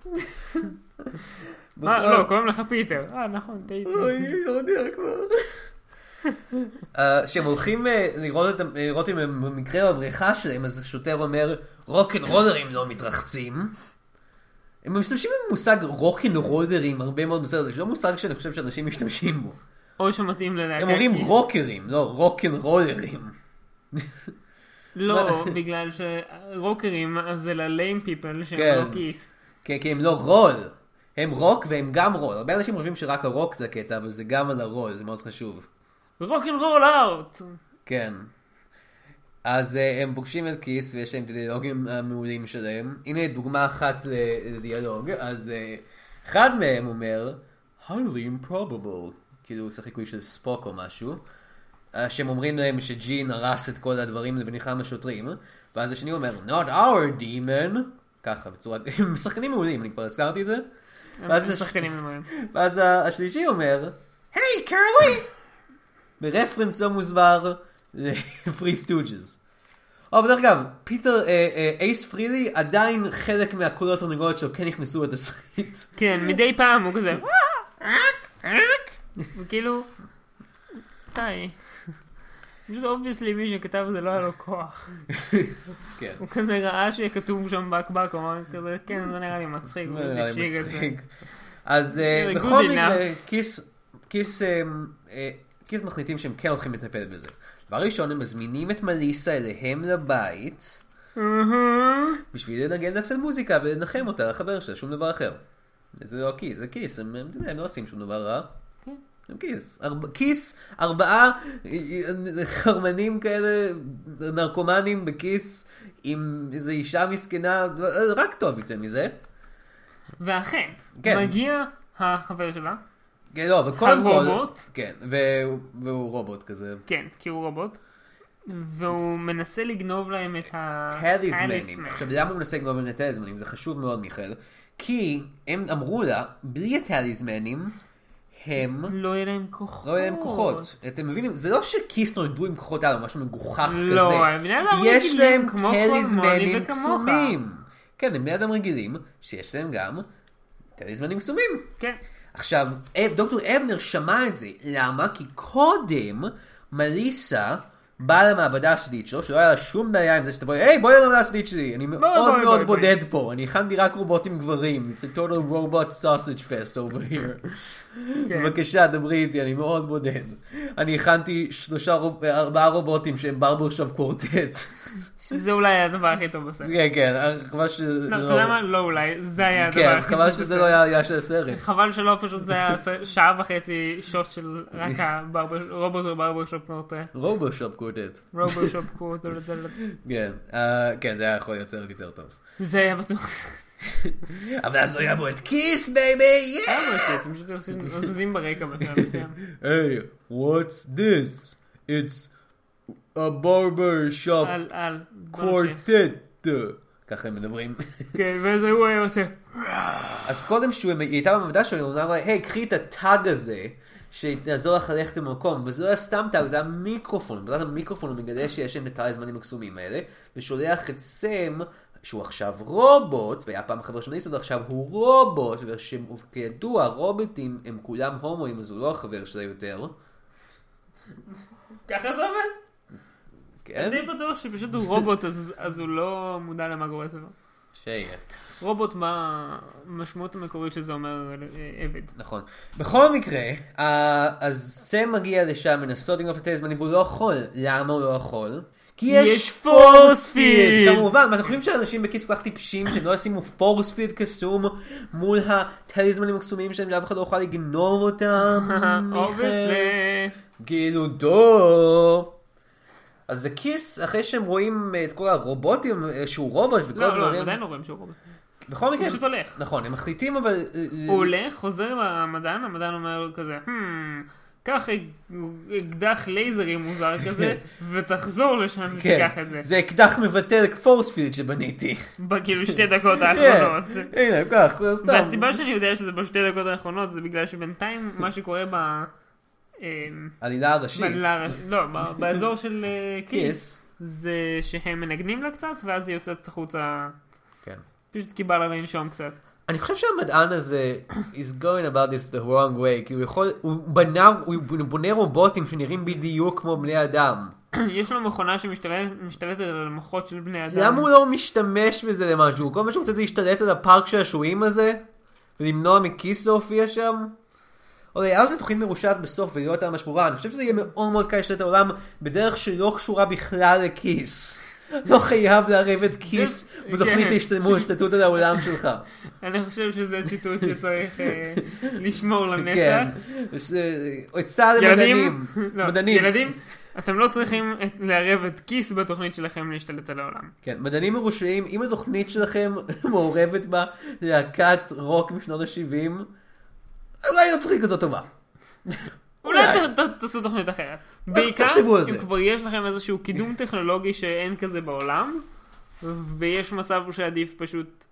Speaker 2: אה, לא, קוראים לך פיטר. אה, נכון, טעיתי.
Speaker 1: אוי, לא יודע כבר. אה, שהם הולכים אה, לראות את ה- אה, לראות אם הם במקרה בבריכה שלהם, אז השוטר אומר, רוקנרולרים לא מתרחצים. הם משתמשים במושג רוקנרולרים הרבה מאוד בסרט, זה לא מושג שאני חושב שאנשים משתמשים בו.
Speaker 2: או שמתאים ללהקה.
Speaker 1: הם אומרים
Speaker 2: כיס.
Speaker 1: רוקרים, לא רוקנרולרים.
Speaker 2: לא, בגלל שרוקרים אז זה לליים פיפל שהם
Speaker 1: כן.
Speaker 2: לא כיס.
Speaker 1: כן, כי הם לא רול. הם רוק והם גם רול. הרבה אנשים חושבים שרק הרוק זה הקטע, אבל זה גם על הרול, זה מאוד חשוב.
Speaker 2: רוק אנד רול אאוט!
Speaker 1: כן. אז uh, הם פוגשים את כיס ויש להם את הדיאלוגים המעולים שלהם. הנה דוגמה אחת ל- לדיאלוג. אז uh, אחד מהם אומר, highly improbable, כאילו זה חיקוי של ספוק או משהו. אה, שהם אומרים להם שג'ין הרס את כל הדברים ונלחם בשוטרים. ואז השני אומר, not our demon. ככה, בצורה... הם שחקנים מעולים, אני כבר הזכרתי את זה. ואז
Speaker 2: הם
Speaker 1: יש-
Speaker 2: שחקנים ממורים.
Speaker 1: ואז ה- השלישי אומר, היי קרלי! ברפרנס לא מוסבר לפרי סטוג'ס. או, בדרך אגב, פיטר, אה, אה, אייס פרילי עדיין חלק מהקולות התרנגולות שלו כן נכנסו לתסריט.
Speaker 2: כן, מדי פעם הוא כזה, וכאילו, די. פשוט אובייסלי מי שכתב זה לא היה לו כוח.
Speaker 1: כן.
Speaker 2: הוא כזה ראה שכתוב שם בקבק, הוא אמר כזה, כן, זה נראה לי מצחיק. הוא
Speaker 1: לא נראה לי
Speaker 2: השיג את זה.
Speaker 1: מצחיק. אז אה,
Speaker 2: זה
Speaker 1: בכל
Speaker 2: good
Speaker 1: מקרה,
Speaker 2: enough.
Speaker 1: כיס, כיס, אה, אה, כיס מחליטים שהם כן הולכים לטפל בזה. דבר ראשון, הם מזמינים את מליסה אליהם לבית,
Speaker 2: אהה.
Speaker 1: בשביל לנגן לה קצת מוזיקה ולנחם אותה לחבר שלה, שום דבר אחר. זה לא כיס, זה כיס, הם, הם, אתה יודע, הם לא עושים שום דבר רע.
Speaker 2: כן.
Speaker 1: הם כיס. ארבע, כיס, ארבעה אה, אה, חרמנים כאלה, נרקומנים בכיס, עם איזו אישה מסכנה, אה, רק טוב יצא מזה.
Speaker 2: ואכן,
Speaker 1: כן.
Speaker 2: מגיע החבר שלה,
Speaker 1: כן, לא, אבל קודם כל...
Speaker 2: הרובוט?
Speaker 1: כן, והוא, והוא רובוט כזה.
Speaker 2: כן, כי הוא רובוט, והוא מנסה לגנוב להם את ה...
Speaker 1: טליזמנים.
Speaker 2: talismans.
Speaker 1: עכשיו, למה הוא מנסה לגנוב להם את הטליזמנים? זה חשוב מאוד, מיכאל. כי הם אמרו לה, בלי הטליזמנים, הם...
Speaker 2: לא יהיה להם כוחות.
Speaker 1: לא יהיה להם כוחות. אתם מבינים? זה לא שכיס נולדו עם כוחות על או משהו מגוחך כזה.
Speaker 2: לא, הם בני אדם
Speaker 1: יש
Speaker 2: רגילים,
Speaker 1: להם
Speaker 2: כמו כל מוני
Speaker 1: טליזמנים
Speaker 2: וכמוך.
Speaker 1: קסומים. כן, הם בני אדם רגילים, שיש להם גם טליזמנים קסומים.
Speaker 2: כן.
Speaker 1: עכשיו, אב- דוקטור אבנר שמע את זה, למה? כי קודם מליסה באה למעבדה הסודית שלו, שלא היה לה שום בעיה עם זה שתבואי, היי בואי למעבדה הסודית שלי, אני מאוד
Speaker 2: בואי,
Speaker 1: מאוד
Speaker 2: בואי,
Speaker 1: בודד פה, אני הכנתי רק רובוטים גברים, it's a total robot sausage fest over here.
Speaker 2: כן.
Speaker 1: בבקשה, דברי איתי, אני מאוד בודד. אני הכנתי שלושה, רוב- ארבעה רובוטים שהם ברבר שם קוורטט.
Speaker 2: שזה אולי היה הדבר הכי טוב בסרט.
Speaker 1: כן, כן, חבל ש...
Speaker 2: לא, אתה יודע מה? לא אולי, זה היה הדבר
Speaker 1: כן,
Speaker 2: הכי טוב
Speaker 1: חבל שזה
Speaker 2: בסרט.
Speaker 1: לא היה היה של הסרט.
Speaker 2: חבל שלא פשוט זה היה ס- שעה וחצי שוט של רק הרובוט וברברשופ אה, קורטה.
Speaker 1: רובושופ קוורטט.
Speaker 2: רובושופ קורטה.
Speaker 1: כן, אה, כן, זה היה יכול להיות סרט יותר טוב.
Speaker 2: זה היה בטוח.
Speaker 1: אבל אז לא היה בו את כיס, בייבי,
Speaker 2: זה
Speaker 1: יא!
Speaker 2: היה משהו, הם פשוט עושים- עוזבים ברקע בשלב מסוים.
Speaker 1: היי, what's this? It's a barber shop
Speaker 2: על, על. בוא נמשיך.
Speaker 1: quartet. ככה הם מדברים.
Speaker 2: כן, ואז הוא היה עושה.
Speaker 1: אז קודם שהוא היא הייתה במעבדה שלו, הוא אמר לה, היי, קחי את הטאג הזה, שיעזור לך ללכת במקום. וזה לא היה סתם טאג, זה היה מיקרופון. בעזרת המיקרופון הוא מגלה שיש להם את הזמנים הקסומים האלה, ושולח את סם, שהוא עכשיו רובוט, והיה פעם חבר של ניסון, עכשיו הוא רובוט, וכידוע, רובוטים הם כולם הומואים, אז הוא לא החבר שלה יותר.
Speaker 2: ככה זה עובד?
Speaker 1: כן?
Speaker 2: אני בטוח שפשוט הוא רובוט, אז- אז הוא לא מודע למה קורה סביבו.
Speaker 1: שיהיה.
Speaker 2: רובוט, מה המשמעות המקורית שזה אומר אה, עבד?
Speaker 1: נכון. בכל מקרה, אה, אז סם מגיע לשם, מנסות לגנוב את הזמנים, והוא לא יכול. למה הוא לא יכול? כי יש
Speaker 2: יש
Speaker 1: פורספיד!
Speaker 2: פורספיד!
Speaker 1: כמובן, מה, אתם חושבים שאנשים בכיס כל כך טיפשים שהם לא ישימו פורספיד קסום מול הטליזמנים הקסומים שלהם שאף אחד לא יוכל לגנוב אותם? מיכאל?
Speaker 2: אובייסלי.
Speaker 1: כאילו דו! אז הכיס, אחרי שהם רואים אה, את כל הרובוטים, אה, שהוא רובוט וכל
Speaker 2: לא, לא,
Speaker 1: הדברים,
Speaker 2: הם עדיין לא רואים שהוא רובוט.
Speaker 1: בכל מקרה,
Speaker 2: הוא פשוט הולך.
Speaker 1: נכון, הם מחליטים אבל... אה,
Speaker 2: הוא הולך, חוזר למדען, המדען אומר לו כזה, "הם, קח אקדח לייזרי מוזר כזה, ותחזור לשם ותיקח את זה.
Speaker 1: כן. זה אקדח מבטל פורספילד שבניתי.
Speaker 2: בכאילו כאילו, שתי דקות
Speaker 1: כן,
Speaker 2: האחרונות.
Speaker 1: הנה, כך, זה סתם.
Speaker 2: לא והסיבה שאני יודע שזה בשתי דקות האחרונות זה בגלל שבינתיים מה שקורה ב... אמ,
Speaker 1: עלילה הראשית.
Speaker 2: בלר- לא, ב- באזור של אה, כיס,
Speaker 1: כיס.
Speaker 2: זה שהם מנגנים לה קצת, ואז היא יוצאת החוצה,
Speaker 1: כן.
Speaker 2: פשוט כי בא לה לנשום קצת.
Speaker 1: אני חושב שהמדען הזה is going about this the wrong way, כי הוא יכול, הוא בנה, הוא בונה רובוטים שנראים בדיוק כמו בני אדם.
Speaker 2: יש לו מכונה שמשתלטת על המוחות של בני אדם.
Speaker 1: למה הוא לא משתמש בזה למשהו? כל מה שהוא רוצה זה להשתלט על הפארק של השעועים הזה? ולמנוע מכיס להופיע שם? או לא, היה לזה תוכנית מרושעת בסוף ולא הייתה ממש ברורה, אני חושב שזה יהיה מאוד מאוד קל לשתת העולם בדרך שלא קשורה בכלל לכיס. לא חייב לערב את כיס
Speaker 2: זה-
Speaker 1: בתוכנית
Speaker 2: כן.
Speaker 1: ההשתלמות, ההשתלטות על העולם שלך.
Speaker 2: אני חושב שזה ציטוט שצריך אה, לשמור
Speaker 1: כן.
Speaker 2: לנצח.
Speaker 1: אז, אה, עצה למדענים.
Speaker 2: ילדים, לא,
Speaker 1: מדענים.
Speaker 2: ילדים, אתם לא צריכים את- לערב את כיס בתוכנית שלכם להשתלט על העולם.
Speaker 1: כן, מדענים מרושעים, אם התוכנית שלכם מעורבת בה להקת רוק משנות ה-70, אולי לא תוכנית כזאת טובה.
Speaker 2: אולי ת- ת- תעשו תוכנית אחרת. בעיקר
Speaker 1: תחשבו על זה.
Speaker 2: אם כבר יש לכם איזשהו קידום טכנולוגי שאין כזה בעולם, ויש מצב שעדיף פשוט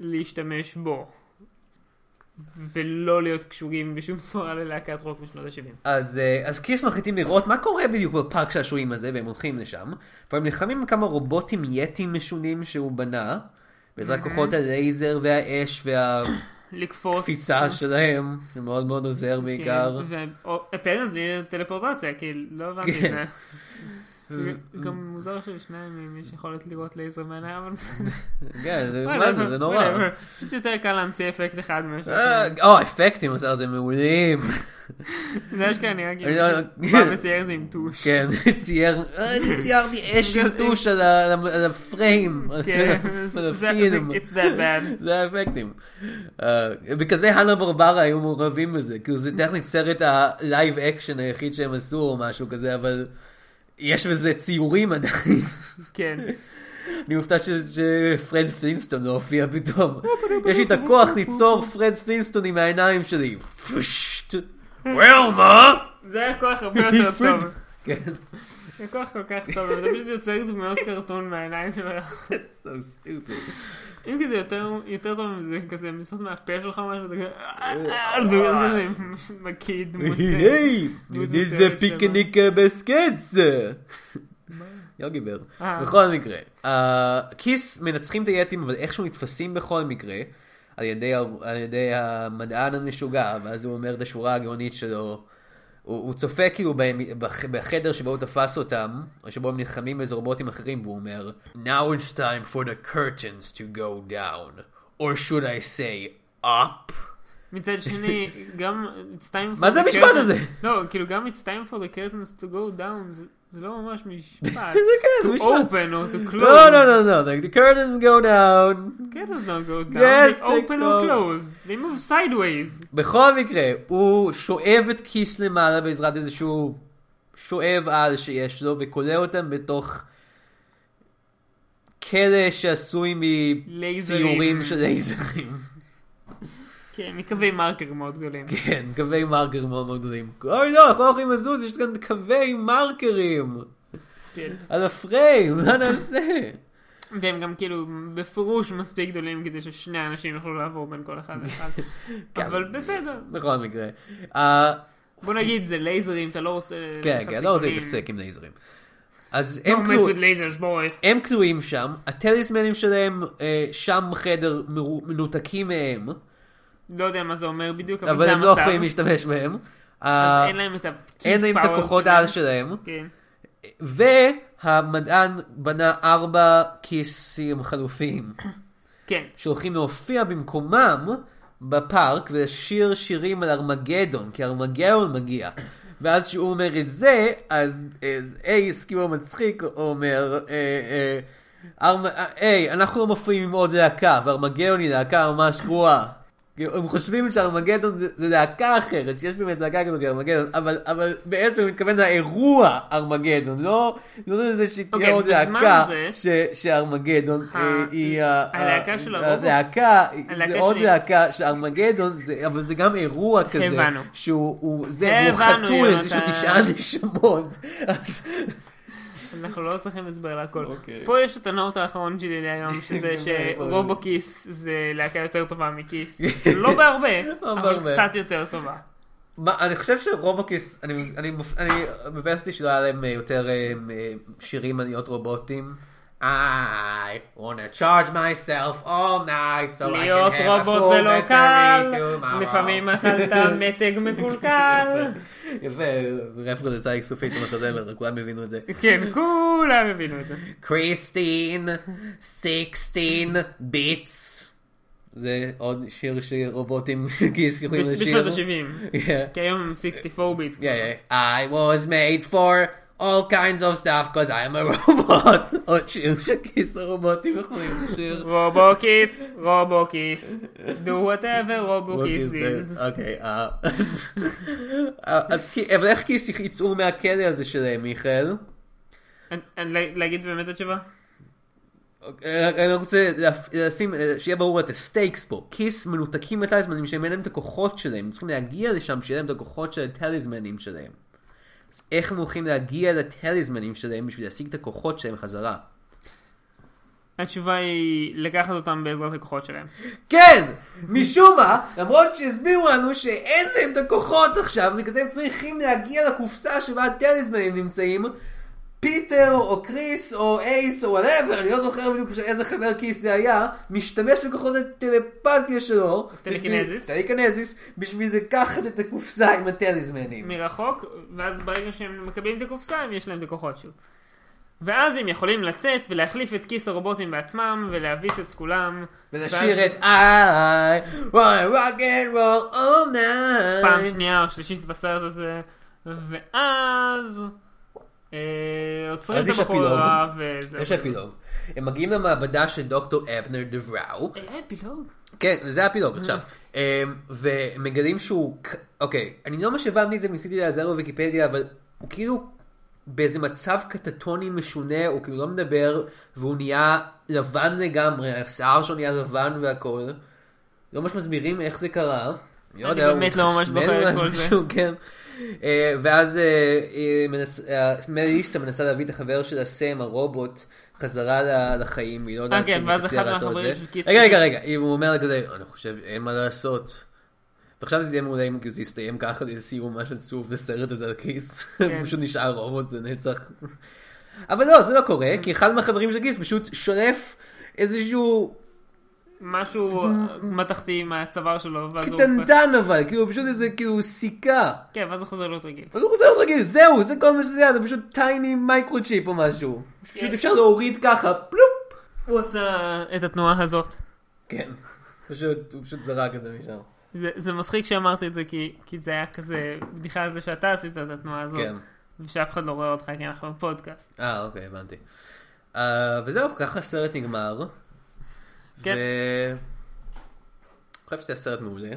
Speaker 2: להשתמש בו. ולא להיות קשורים בשום צורה ללהקת רוק משנות ה-70.
Speaker 1: אז, אה, אז קיס מחליטים לראות מה קורה בדיוק בפארק שעשועים הזה, והם הולכים לשם, והם נלחמים עם כמה רובוטים יתים משונים שהוא בנה, בעזרת כוחות הלייזר והאש והקפיצה
Speaker 2: לקפוץ. כן,
Speaker 1: שלהם, שמאוד מאוד עוזר בעיקר.
Speaker 2: אפרנטלי טלפורטציה, כי לא הבנתי את
Speaker 1: כן.
Speaker 2: זה. זה גם מוזר שלשניים מהם יש יכולת לראות לייזר מהעיניים, אבל בסדר.
Speaker 1: כן, זה-
Speaker 2: וואלה,
Speaker 1: מה זה, זה נורא.
Speaker 2: whatever. פשוט יותר קל להמציא אפקט אחד מאשר...
Speaker 1: אה, או, האפקטים עושה את זה מעולים.
Speaker 2: זה אשכרה נראה כאילו
Speaker 1: כן. אני לא-
Speaker 2: מישהו בא וצייר את זה עם טוש.
Speaker 1: כן, צייר, אה, אני ציירתי אש עם טוש על ה- על ה- על הפריים, על
Speaker 2: כן,
Speaker 1: ה- על
Speaker 2: זה- זה-
Speaker 1: הפילם.
Speaker 2: it's that bad.
Speaker 1: זה האפקטים. אה, בגלל זה הנה ברברה היו מעורבים בזה, כאילו זה טכנית סרט הלייב אקשן היחיד שהם עשו או משהו כזה, אבל יש בזה ציורים עדיין.
Speaker 2: כן.
Speaker 1: אני מופתע ש- שפרד פלינסטון לא הופיע פתאום. יש לי את הכוח ליצור פרד פלינסטון עם העיניים שלי. פושט.
Speaker 2: וילמה! זה היה כוח הרבה יותר
Speaker 1: פריד.
Speaker 2: טוב.
Speaker 1: כן,
Speaker 2: זה כוח כל כך טוב, אבל זה פשוט יוצר דמויות קרטון מהעיניים שלו.
Speaker 1: so stupid.
Speaker 2: אם כי זה יותר יותר טוב אם זה כזה מסוס מהפה שלך או משהו, אתה כזה, "אה, אה, אה", זה כזה מקיא דמות.
Speaker 1: היי,
Speaker 2: דמות
Speaker 1: איזה
Speaker 2: מסוימת שלו.
Speaker 1: פיקניק אה, בסקץ. לא גיבר.
Speaker 2: אה.
Speaker 1: בכל מקרה, אה, כיס מנצחים את היתים, אבל איכשהו נתפסים בכל מקרה, על ידי ה- על ידי המדען המשוגע, ואז הוא אומר את השורה הגאונית שלו. הוא, הוא צופה כאילו בהם, בח, בחדר שבו הוא תפס אותם, או שבו הם נלחמים באיזה רובוטים אחרים, והוא אומר, Now it's time for the curtains to go down, or should I say up?
Speaker 2: מצד שני, גם it's time for
Speaker 1: מה זה
Speaker 2: the
Speaker 1: המשפט
Speaker 2: curtains-
Speaker 1: הזה?
Speaker 2: לא, כאילו גם it's time for the curtains to go down, זה- זה לא ממש משפט.
Speaker 1: זה כן, זה
Speaker 2: To
Speaker 1: משפט.
Speaker 2: open or to close.
Speaker 1: לא, לא, לא, לא, like, the curtains go down.
Speaker 2: Curtains don't go down,
Speaker 1: Yes,
Speaker 2: they
Speaker 1: they
Speaker 2: open
Speaker 1: go.
Speaker 2: or close. They move sideways.
Speaker 1: בכל מקרה, הוא שואב את כיס למעלה בעזרת איזשהו שואב על שיש לו, וכולא אותם בתוך כלא שעשוי
Speaker 2: לייזרים.
Speaker 1: מסיורים של לייזרים.
Speaker 2: כן, מקווי מרקר מאוד גדולים.
Speaker 1: כן, קווי מרקר מאוד מאוד גדולים. אוי לא, אנחנו לא יכולים לזוז, יש כאן קווי מרקרים
Speaker 2: כן.
Speaker 1: על הפריים, מה נעשה?
Speaker 2: והם גם כאילו בפירוש מספיק גדולים כדי ששני אנשים יוכלו לעבור בין כל אחד לאחד.
Speaker 1: כן.
Speaker 2: אבל בסדר.
Speaker 1: בכל מקרה. אה,
Speaker 2: בוא נגיד זה לייזרים, אתה לא רוצה...
Speaker 1: כן,
Speaker 2: לחצי
Speaker 1: כן, לא רוצה
Speaker 2: גדולים.
Speaker 1: להתעסק עם לייזרים. אז
Speaker 2: Don't
Speaker 1: הם כאילו- כלו-
Speaker 2: mess with lasers, boy.
Speaker 1: הם כלואים שם, הטליסמנים שלהם אה, שם בחדר מרו- מנותקים מהם,
Speaker 2: לא יודע מה זה אומר בדיוק, אבל,
Speaker 1: אבל
Speaker 2: זה
Speaker 1: הם
Speaker 2: המצב.
Speaker 1: לא יכולים להשתמש בהם. אה,
Speaker 2: אז אין להם את ה...
Speaker 1: אין להם את הכוחות העל שלהם,
Speaker 2: כן.
Speaker 1: והמדען בנה ארבע כיסים חלופיים,
Speaker 2: כן.
Speaker 1: שהולכים להופיע במקומם בפארק ולשיר שירים על ארמגדון, כי ארמגדון מגיע. ואז כשהוא אומר את זה, אז אז אייס, כאילו המצחיק, אומר, אה, אה, ארמ- אה, היי, אנחנו לא מופיעים עם עוד להקה, וארמגדון היא להקה ממש גרועה. כאילו, הם חושבים שארמגדון זה, זה להקה אחרת, שיש באמת להקה כזאת ארמגדון, אבל, אבל בעצם הוא מתכוון לאירוע ארמגדון, לא, לא לזה שתהיה
Speaker 2: אוקיי,
Speaker 1: עוד
Speaker 2: בזמן
Speaker 1: להקה
Speaker 2: זה-
Speaker 1: ש, שארמגדון
Speaker 2: ה-
Speaker 1: אה, היא ה-
Speaker 2: הלהקה
Speaker 1: ה-
Speaker 2: של הרובוט?
Speaker 1: הלהקה, זה
Speaker 2: הלהקה
Speaker 1: עוד
Speaker 2: שלי.
Speaker 1: להקה שארמגדון, זה- אבל זה גם אירוע כזה,
Speaker 2: הבנו.
Speaker 1: שהוא הוא- זה, הוא
Speaker 2: הבנו,
Speaker 1: חתול, יש לו
Speaker 2: יונתן.
Speaker 1: תשעה נשמות, אז
Speaker 2: אנחנו לא צריכים הסבר להכל.
Speaker 1: אוקיי.
Speaker 2: פה יש את הנוט האחרון שלי להיום, שזה
Speaker 1: כן,
Speaker 2: שרובוקיס זה להקה יותר טובה מקיס. לא בהרבה, אבל
Speaker 1: בהרבה.
Speaker 2: קצת יותר טובה.
Speaker 1: מה, אני חושב שרובוקיס, אני, אני, מופ- אני מבאס לי שלא היה להם אה, יותר אה, אה, שירים על להיות רובוטים. I wanna charge myself all night so I
Speaker 2: להיות
Speaker 1: can have a
Speaker 2: רובוט זה
Speaker 1: full
Speaker 2: לא
Speaker 1: battery
Speaker 2: קל,
Speaker 1: tomorrow.
Speaker 2: לפעמים אכלת מתג מקולקל.
Speaker 1: יפה, רפרנס היה סופית במחזמר, כולם הבינו את זה.
Speaker 2: כן, כולם הבינו את זה.
Speaker 1: קריסטין, 16 ביטס. זה עוד שיר שרובוטים גיס יכולים
Speaker 2: בש-
Speaker 1: לשיר.
Speaker 2: בשנות ה-70.
Speaker 1: Yeah.
Speaker 2: כי היום הם 64 ביטס.
Speaker 1: Yeah, yeah. I was made for all kinds of stuff because I'm a robot. עוד שיר שכיס הרובוטים יכולים לשיר.
Speaker 2: רובוקיס, רובוקיס, do whatever רובוקיס is.
Speaker 1: אוקיי, אה, אז- אה, אז כי- אבל איך כיס יצאו מהכלא הזה שלהם, מיכאל?
Speaker 2: אני- אני לה- להגיד באמת את התשובה?
Speaker 1: אה, אני רוצה להפ- לשים, אה, שיהיה ברור את הסטייקס פה. כיס מנותקים מהטליזמנים שהם אין להם את הכוחות שלהם, הם צריכים להגיע לשם שיהיה להם את הכוחות של הטליזמנים שלהם. אז איך הם הולכים להגיע לטליזמנים שלהם בשביל להשיג את הכוחות שלהם חזרה?
Speaker 2: התשובה היא לקחת אותם בעזרת הכוחות שלהם.
Speaker 1: כן! משום מה, למרות שהסבירו לנו שאין להם את הכוחות עכשיו, בגלל זה הם צריכים להגיע לקופסה שבה הטליסמנים נמצאים, פיטר או קריס או אייס או וואטאבר, אני לא זוכר בדיוק איזה חבר כיס זה היה, משתמש בכוחות הטלפתיה שלו,
Speaker 2: טליקינזיס.
Speaker 1: בשביל- טליקינזיס, בשביל לקחת את הקופסה עם הטליסמנים.
Speaker 2: מרחוק, ואז ברגע שהם מקבלים את הקופסה, הם יש להם את הכוחות שוב. ואז הם יכולים לצאת ולהחליף את כיס הרובוטים בעצמם, ולהביס את כולם. ואז
Speaker 1: ולשיר את I want rock and roll all night.
Speaker 2: פעם שנייה או שלישית בסרט הזה, ואז... אה, עוצרים
Speaker 1: אז
Speaker 2: את
Speaker 1: יש
Speaker 2: הבחורה, וזהו.
Speaker 1: יש אפילוג. הם מגיעים למעבדה של דוקטור אפנר דבראו.
Speaker 2: היה אה, אפילוג?
Speaker 1: כן, זה הפילוג עכשיו. אמ, ומגלים שהוא... כ- אוקיי, אני לא ממש הבנתי את זה, ניסיתי להיעזר בוויקיפדיה, אבל הוא כאילו באיזה מצב קטטוני משונה, הוא כאילו לא מדבר, והוא נהיה לבן לגמרי, השיער שלו נהיה לבן והכל. לא ממש מסבירים איך זה קרה. לא
Speaker 2: אני
Speaker 1: יודע, הוא
Speaker 2: באמת לא ממש
Speaker 1: מתחשמל
Speaker 2: זוכר את
Speaker 1: או
Speaker 2: כל זה.
Speaker 1: משהו, כן. אה, ואז אה, אה, מנס- אה, מליסה מנסה להביא את החבר שלה, סם, הרובוט, חזרה ל- לחיים, היא לא יודעת
Speaker 2: אה, כן,
Speaker 1: אם
Speaker 2: ואז
Speaker 1: תצליח
Speaker 2: אחד
Speaker 1: לעשות את
Speaker 2: מהחברים
Speaker 1: זה.
Speaker 2: של כיס-
Speaker 1: רגע, רגע, רגע, אם הוא אומר לה כזה, אני חושב, אין מה לעשות. ועכשיו זה יהיה מעולה אם כאילו זה יסתיים ככה, זה סיום ממש עצוב לסרט הזה על כיס.
Speaker 2: כן.
Speaker 1: הוא פשוט נשאר רובוט לנצח. אבל לא, זה לא קורה,
Speaker 2: אוקיי.
Speaker 1: כי אחד מהחברים של כיס פשוט שולף איזשהו
Speaker 2: משהו מתכתי מהצוואר שלו, ואז הוא...
Speaker 1: קטנטן אבל, כאילו פשוט איזה כאילו סיכה.
Speaker 2: כן, ואז הוא חוזר להיות רגיל.
Speaker 1: אז הוא רוצה להיות רגיל, זהו, זה כל מה שזה היה, זה פשוט טייני מייקרו-צ'יפ או משהו. פשוט אפשר להוריד ככה, פלופ.
Speaker 2: הוא עשה את התנועה הזאת.
Speaker 1: כן, פשוט, הוא פשוט זרק את זה משם.
Speaker 2: זה, זה מצחיק שאמרתי את זה, כי, כי זה היה כזה בדיחה על זה שאתה עשית את התנועה הזאת,
Speaker 1: כן.
Speaker 2: ושאף אחד לא רואה אותך, כי אנחנו בפודקאסט.
Speaker 1: אה, אוקיי, הבנתי. אה, וזהו, ככה הסרט נגמר.
Speaker 2: כן.
Speaker 1: ו- אני חושב שזה היה סרט מעולה.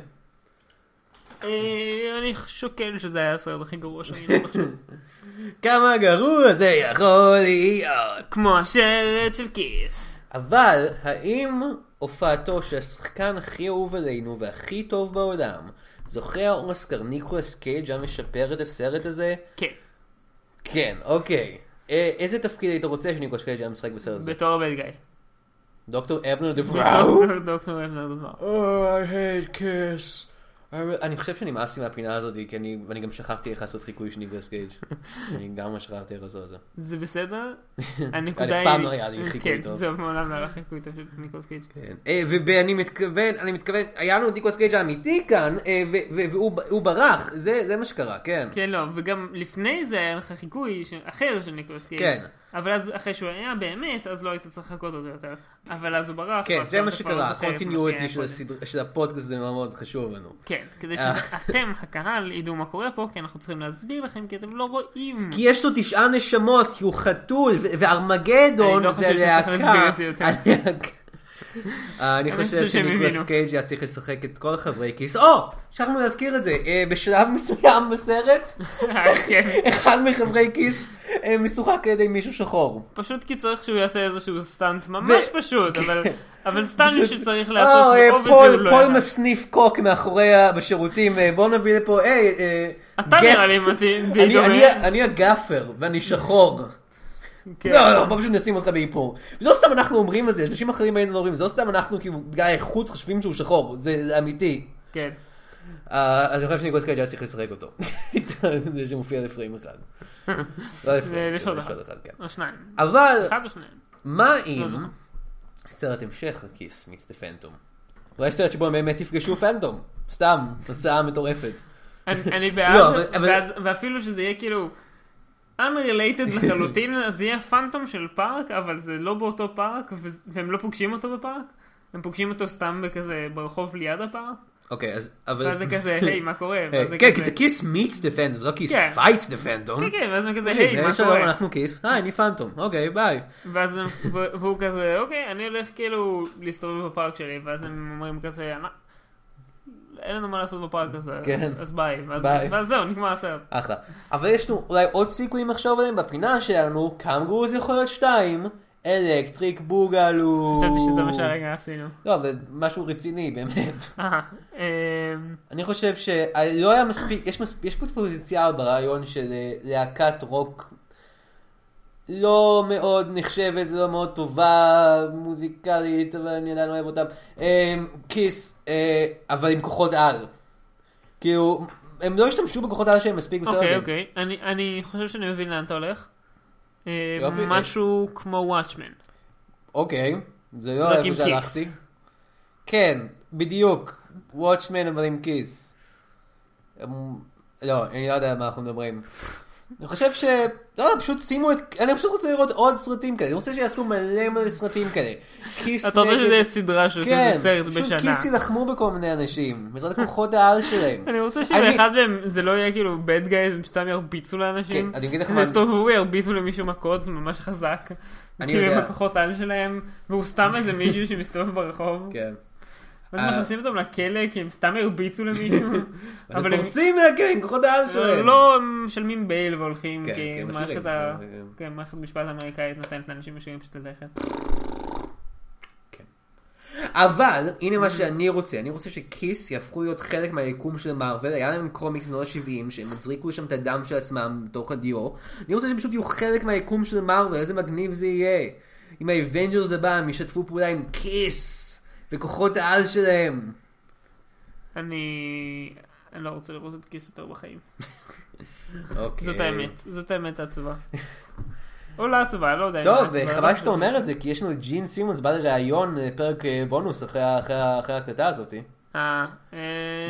Speaker 2: אה, אני שוקל שזה היה הסרט הכי גרוע שאני לא חושב.
Speaker 1: כמה גרוע זה יכול להיות.
Speaker 2: כמו השלט של כיס.
Speaker 1: אבל, האם הופעתו של השחקן הכי אהוב עלינו והכי טוב בעולם, זוכה האוסקר ניקולס קייג' היה משפר את הסרט הזה?
Speaker 2: כן,
Speaker 1: כן, אוקיי. אה, איזה תפקיד היית רוצה שניקולס קייג' היה משחק בסרט הזה?
Speaker 2: בתור בן גיא.
Speaker 1: דוקטור אבנר דבראו?
Speaker 2: דוקטור- דוקטור אבנר דבר.
Speaker 1: Oh, I hate kiss. I re- אה, אני חושב שנמאס לי מהפינה הזאת, כי אני, ואני גם שכחתי איך לעשות חיקוי של ניגלס קייג'. אני גם ממש שכחתי איך לעשות את זה.
Speaker 2: זה בסדר? הנקודה
Speaker 1: אף
Speaker 2: היא...
Speaker 1: פעם לא היה לי חיקוי
Speaker 2: כן,
Speaker 1: טוב.
Speaker 2: זה מעולם לא היה לך חיקוי טוב של ניקולס קייג'.
Speaker 1: כן. אה, ואני מתכוון, אני מתכוון, היה לנו את ניקלס קייג' האמיתי כאן, אה, ו- ו- והוא ב- הוא ברח, זה זה מה שקרה, כן.
Speaker 2: כן, לא, וגם לפני זה היה לך חיקוי ש- אחר של ניקולס קייג'.
Speaker 1: כן.
Speaker 2: אבל אז אחרי שהוא היה באמת, אז לא היית צריך לחכות אותו יותר. אבל אז הוא ברח.
Speaker 1: כן,
Speaker 2: אז
Speaker 1: זה מה
Speaker 2: אתה כבר לא
Speaker 1: שקרה,
Speaker 2: זוכר את מה שהיה
Speaker 1: הקונטיניוטי של אה.
Speaker 2: קודם.
Speaker 1: הסדר- של הפודקאסט הזה מאוד מאוד חשוב לנו.
Speaker 2: כן, כדי שאתם, הקהל, ידעו מה קורה פה, כי אנחנו צריכים להסביר לכם, כי אתם לא רואים.
Speaker 1: כי יש לו תשעה נשמות, כי הוא חתול, ו- וארמגדון
Speaker 2: אני לא
Speaker 1: זה
Speaker 2: חושב שצריך
Speaker 1: להקה.
Speaker 2: להסביר את זה יותר.
Speaker 1: הלהקה. אה, אני
Speaker 2: אני
Speaker 1: חושב
Speaker 2: חושב שהם
Speaker 1: שניקולס
Speaker 2: הבינו.
Speaker 1: קייג' היה צריך לשחק את כל חברי כיס. או! שכחנו להזכיר את זה. אה, בשלב מסוים בסרט,
Speaker 2: כן.
Speaker 1: אחד מחברי כיס אה, משוחק על ידי מישהו שחור.
Speaker 2: פשוט כי צריך שהוא יעשה איזשהו סטאנט ממש
Speaker 1: ו-
Speaker 2: פשוט, אבל- אבל סטאנט
Speaker 1: פשוט-
Speaker 2: שצריך
Speaker 1: אה,
Speaker 2: לעשות,
Speaker 1: אה,
Speaker 2: זה או וזה הוא
Speaker 1: פול-
Speaker 2: לא
Speaker 1: פול
Speaker 2: ידע.
Speaker 1: מסניף קוק מאחורי ה- בשירותים. אה, בוא נביא לפה, היי, אה,
Speaker 2: אתה
Speaker 1: גף.
Speaker 2: נראה לי מתאים, די
Speaker 1: אני-
Speaker 2: דומה.
Speaker 1: אני ה- אני הגאפר, ואני שחור.
Speaker 2: כן.
Speaker 1: לא, לא, בוא פשוט נשים אותך באיפור. לא סתם אנחנו אומרים את זה, אנשים אחרים היינו אומרים, זה לא סתם אנחנו כאילו בגלל האיכות חושבים שהוא שחור, זה זה אמיתי.
Speaker 2: כן.
Speaker 1: אה, אז אני חושב שניקולס קייג' היה צריך לשחק אותו. זה שמופיע לפריים אחד. לא לפריים,
Speaker 2: ולשוד
Speaker 1: לשוד
Speaker 2: אחד.
Speaker 1: כן.
Speaker 2: או שניים.
Speaker 1: אבל,
Speaker 2: אחד או שניים.
Speaker 1: מה
Speaker 2: לא
Speaker 1: אם
Speaker 2: זוכר.
Speaker 1: סרט המשך לכיס מיץ דה פנטום? אולי סרט שבו הם באמת יפגשו פנטום, סתם, תוצאה מטורפת.
Speaker 2: אני אני
Speaker 1: לא,
Speaker 2: בעד,
Speaker 1: אבל- אבל-
Speaker 2: ואז- ואפילו שזה יהיה כאילו unrelated לחלוטין, אז זה יהיה פאנטום של פארק, אבל זה לא באותו פארק, וזה- והם לא פוגשים אותו בפארק, הם פוגשים אותו סתם בכזה ברחוב ליד הפארק,
Speaker 1: אוקיי, אז, אבל...
Speaker 2: ואז זה כזה, היי, מה קורה?
Speaker 1: אה,
Speaker 2: ואז זה
Speaker 1: כן,
Speaker 2: כזה-
Speaker 1: כי זה כיס מיץ דה פנטום, לא כיס
Speaker 2: כן.
Speaker 1: פייטס דה פנטום.
Speaker 2: כן, כן, ואז הם כזה,
Speaker 1: תקשיב,
Speaker 2: היי, מה
Speaker 1: שלום,
Speaker 2: קורה?
Speaker 1: אנחנו כיס, היי, אני פנטום, אוקיי, ביי.
Speaker 2: ואז הם, ו- והוא כזה, אוקיי, אני הולך כאילו להסתובב בפארק שלי, ואז הם אומרים כזה, "מה? אין לנו מה לעשות בפארק הזה,
Speaker 1: כן.
Speaker 2: אז ביי, ואז-
Speaker 1: ביי.
Speaker 2: ואז זהו, נגמר הסרט.
Speaker 1: אחלה. אבל יש לנו אולי עוד סיכויים לחשוב עליהם בפינה שלנו, קנגורו זה יכול להיות שתיים, אלקטריק בוגלו.
Speaker 2: חשבתי שזה מה שהרגע עשינו.
Speaker 1: לא, אבל משהו רציני, באמת.
Speaker 2: אה, אמ,
Speaker 1: אני חושב שלא היה מספיק, יש, מספ... יש פה פוטנציאל ברעיון של אה, להקת רוק, לא מאוד נחשבת, לא מאוד טובה, מוזיקלית, אבל אני עדיין אוהב אותם. אמ, כיס, אה, אבל עם כוחות על. כאילו, הם לא השתמשו בכוחות על שלהם מספיק בסרט
Speaker 2: אוקיי,
Speaker 1: הזה.
Speaker 2: אוקיי. אני- אני חושב שאני מבין לאן אתה הולך. אה,
Speaker 1: יופי, אה.
Speaker 2: משהו כמו וואטשמן.
Speaker 1: אוקיי, זה לא
Speaker 2: רק
Speaker 1: איפה
Speaker 2: עם
Speaker 1: שהלכתי.
Speaker 2: כיס.
Speaker 1: כן, בדיוק, וואטשמן אבל עם כיס. אמ, לא, אני לא יודע על מה אנחנו מדברים. אני חושב ש... לא, יודע, פשוט שימו את... אני פשוט רוצה לראות עוד סרטים כאלה, אני רוצה שיעשו מלא מלא סרטים כאלה. כיס
Speaker 2: אתה רוצה
Speaker 1: נגד-
Speaker 2: שזה יהיה סדרה של
Speaker 1: כן,
Speaker 2: כזה סרט
Speaker 1: פשוט
Speaker 2: בשנה.
Speaker 1: כיס יילחמו בכל מיני אנשים, בעזרת כוחות העל שלהם.
Speaker 2: אני רוצה
Speaker 1: אני-
Speaker 2: שבאחד מהם זה לא יהיה כאילו bad guys, הם סתם ירביצו לאנשים.
Speaker 1: כן, אני אגיד לך מה-
Speaker 2: הם יסתובבו, ירביצו למישהו מכות ממש חזק.
Speaker 1: אני
Speaker 2: כאילו עם
Speaker 1: יודע.
Speaker 2: הכוחות על שלהם, והוא סתם איזה מישהו שמסתובב ברחוב.
Speaker 1: כן.
Speaker 2: ואז
Speaker 1: אה.
Speaker 2: מכניסים אותם לכלא כי הם סתם הרביצו למישהו.
Speaker 1: אז
Speaker 2: אבל
Speaker 1: הם
Speaker 2: הם
Speaker 1: פורצים מהקרן, עם כוחות העל
Speaker 2: אבל
Speaker 1: שלהם.
Speaker 2: לא, הם משלמים בייל והולכים,
Speaker 1: כן,
Speaker 2: כי
Speaker 1: כן,
Speaker 2: מערכת
Speaker 1: משאירים.
Speaker 2: ה-
Speaker 1: אה,
Speaker 2: כן, מערכת המשפט האמריקאית נותנת לאנשים משאירים פשוט ללכת.
Speaker 1: אבל, הנה מה שאני רוצה, אני רוצה שכיס יהפכו להיות חלק מהיקום של מארוול, היה להם קומיק משנות ה-70, שהם הזריקו לשם את הדם של עצמם בתוך הדיו, אני רוצה שהם פשוט יהיו חלק מהיקום של מארוול, איזה מגניב זה יהיה. אם האבנג'רס הבא, הם ישתפו פעולה עם כיס, וכוחות העל שלהם.
Speaker 2: אני... אני לא רוצה לראות את כיס יותר בחיים.
Speaker 1: אוקיי.
Speaker 2: זאת האמת, זאת האמת העצובה. או לא עצובה, לא יודע. אם
Speaker 1: טוב,
Speaker 2: העצובה,
Speaker 1: חבל
Speaker 2: לא
Speaker 1: שאתה
Speaker 2: עצובה.
Speaker 1: אומר את זה, כי יש לנו את ג'ין סימונס בא לראיון אה, פרק אה, בונוס אחרי ה- אחרי ה- אחרי ההקלטה הזאת.
Speaker 2: אה, אה,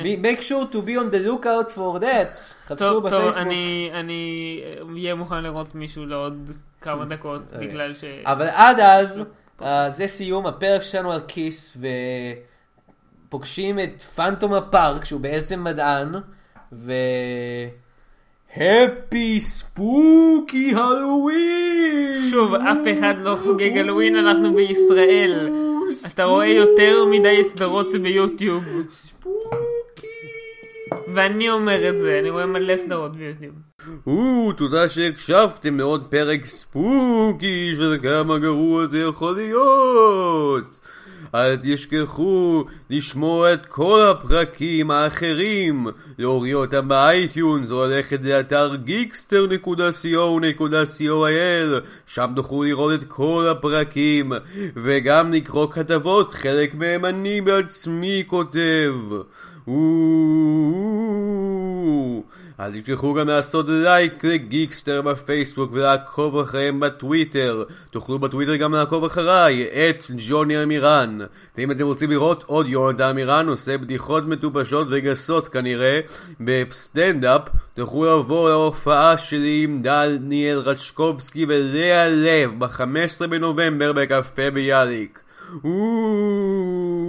Speaker 1: Be- make sure to be on the lookout for that. חפשו
Speaker 2: טוב, טוב,
Speaker 1: בפייסבוק.
Speaker 2: אני אני, אה, אהיה מוכן לראות מישהו לעוד כמה דקות,
Speaker 1: אוקיי.
Speaker 2: בגלל ש...
Speaker 1: אבל עד
Speaker 2: לא.
Speaker 1: אז, אה, זה סיום הפרק שלנו על כיס, ופוגשים את פנטום הפארק, שהוא בעצם מדען, ו... הפי ספוקי הלווין!
Speaker 2: שוב, אף אחד לא חוגג הלווין, אנחנו בישראל. אתה רואה יותר מדי סדרות ביוטיוב,
Speaker 1: ספוקי!
Speaker 2: ואני אומר את זה, אני רואה מלא סדרות ביוטיוב.
Speaker 1: או, תודה שהקשבתם לעוד פרק ספוקי של כמה גרוע זה יכול להיות. אל תשכחו לשמוע את כל הפרקים האחרים, להוריד אותם באייטיונס או ללכת לאתר geekster.co.il, שם תוכלו לראות את כל הפרקים, וגם לקרוא כתבות, חלק מהם אני בעצמי כותב. או, אל תשכחו גם לעשות לייק לגיקסטר בפייסבוק ולעקוב אחריהם בטוויטר. תוכלו בטוויטר גם לעקוב אחריי, את ג'וני אמירן. ואם אתם רוצים לראות עוד יונתן אמירן עושה בדיחות מטופשות וגסות כנראה בסטנדאפ, תוכלו לבוא להופעה שלי עם דניאל רשקובסקי ולאה לב ב-15 בנובמבר בקפה ביאליק. אוו.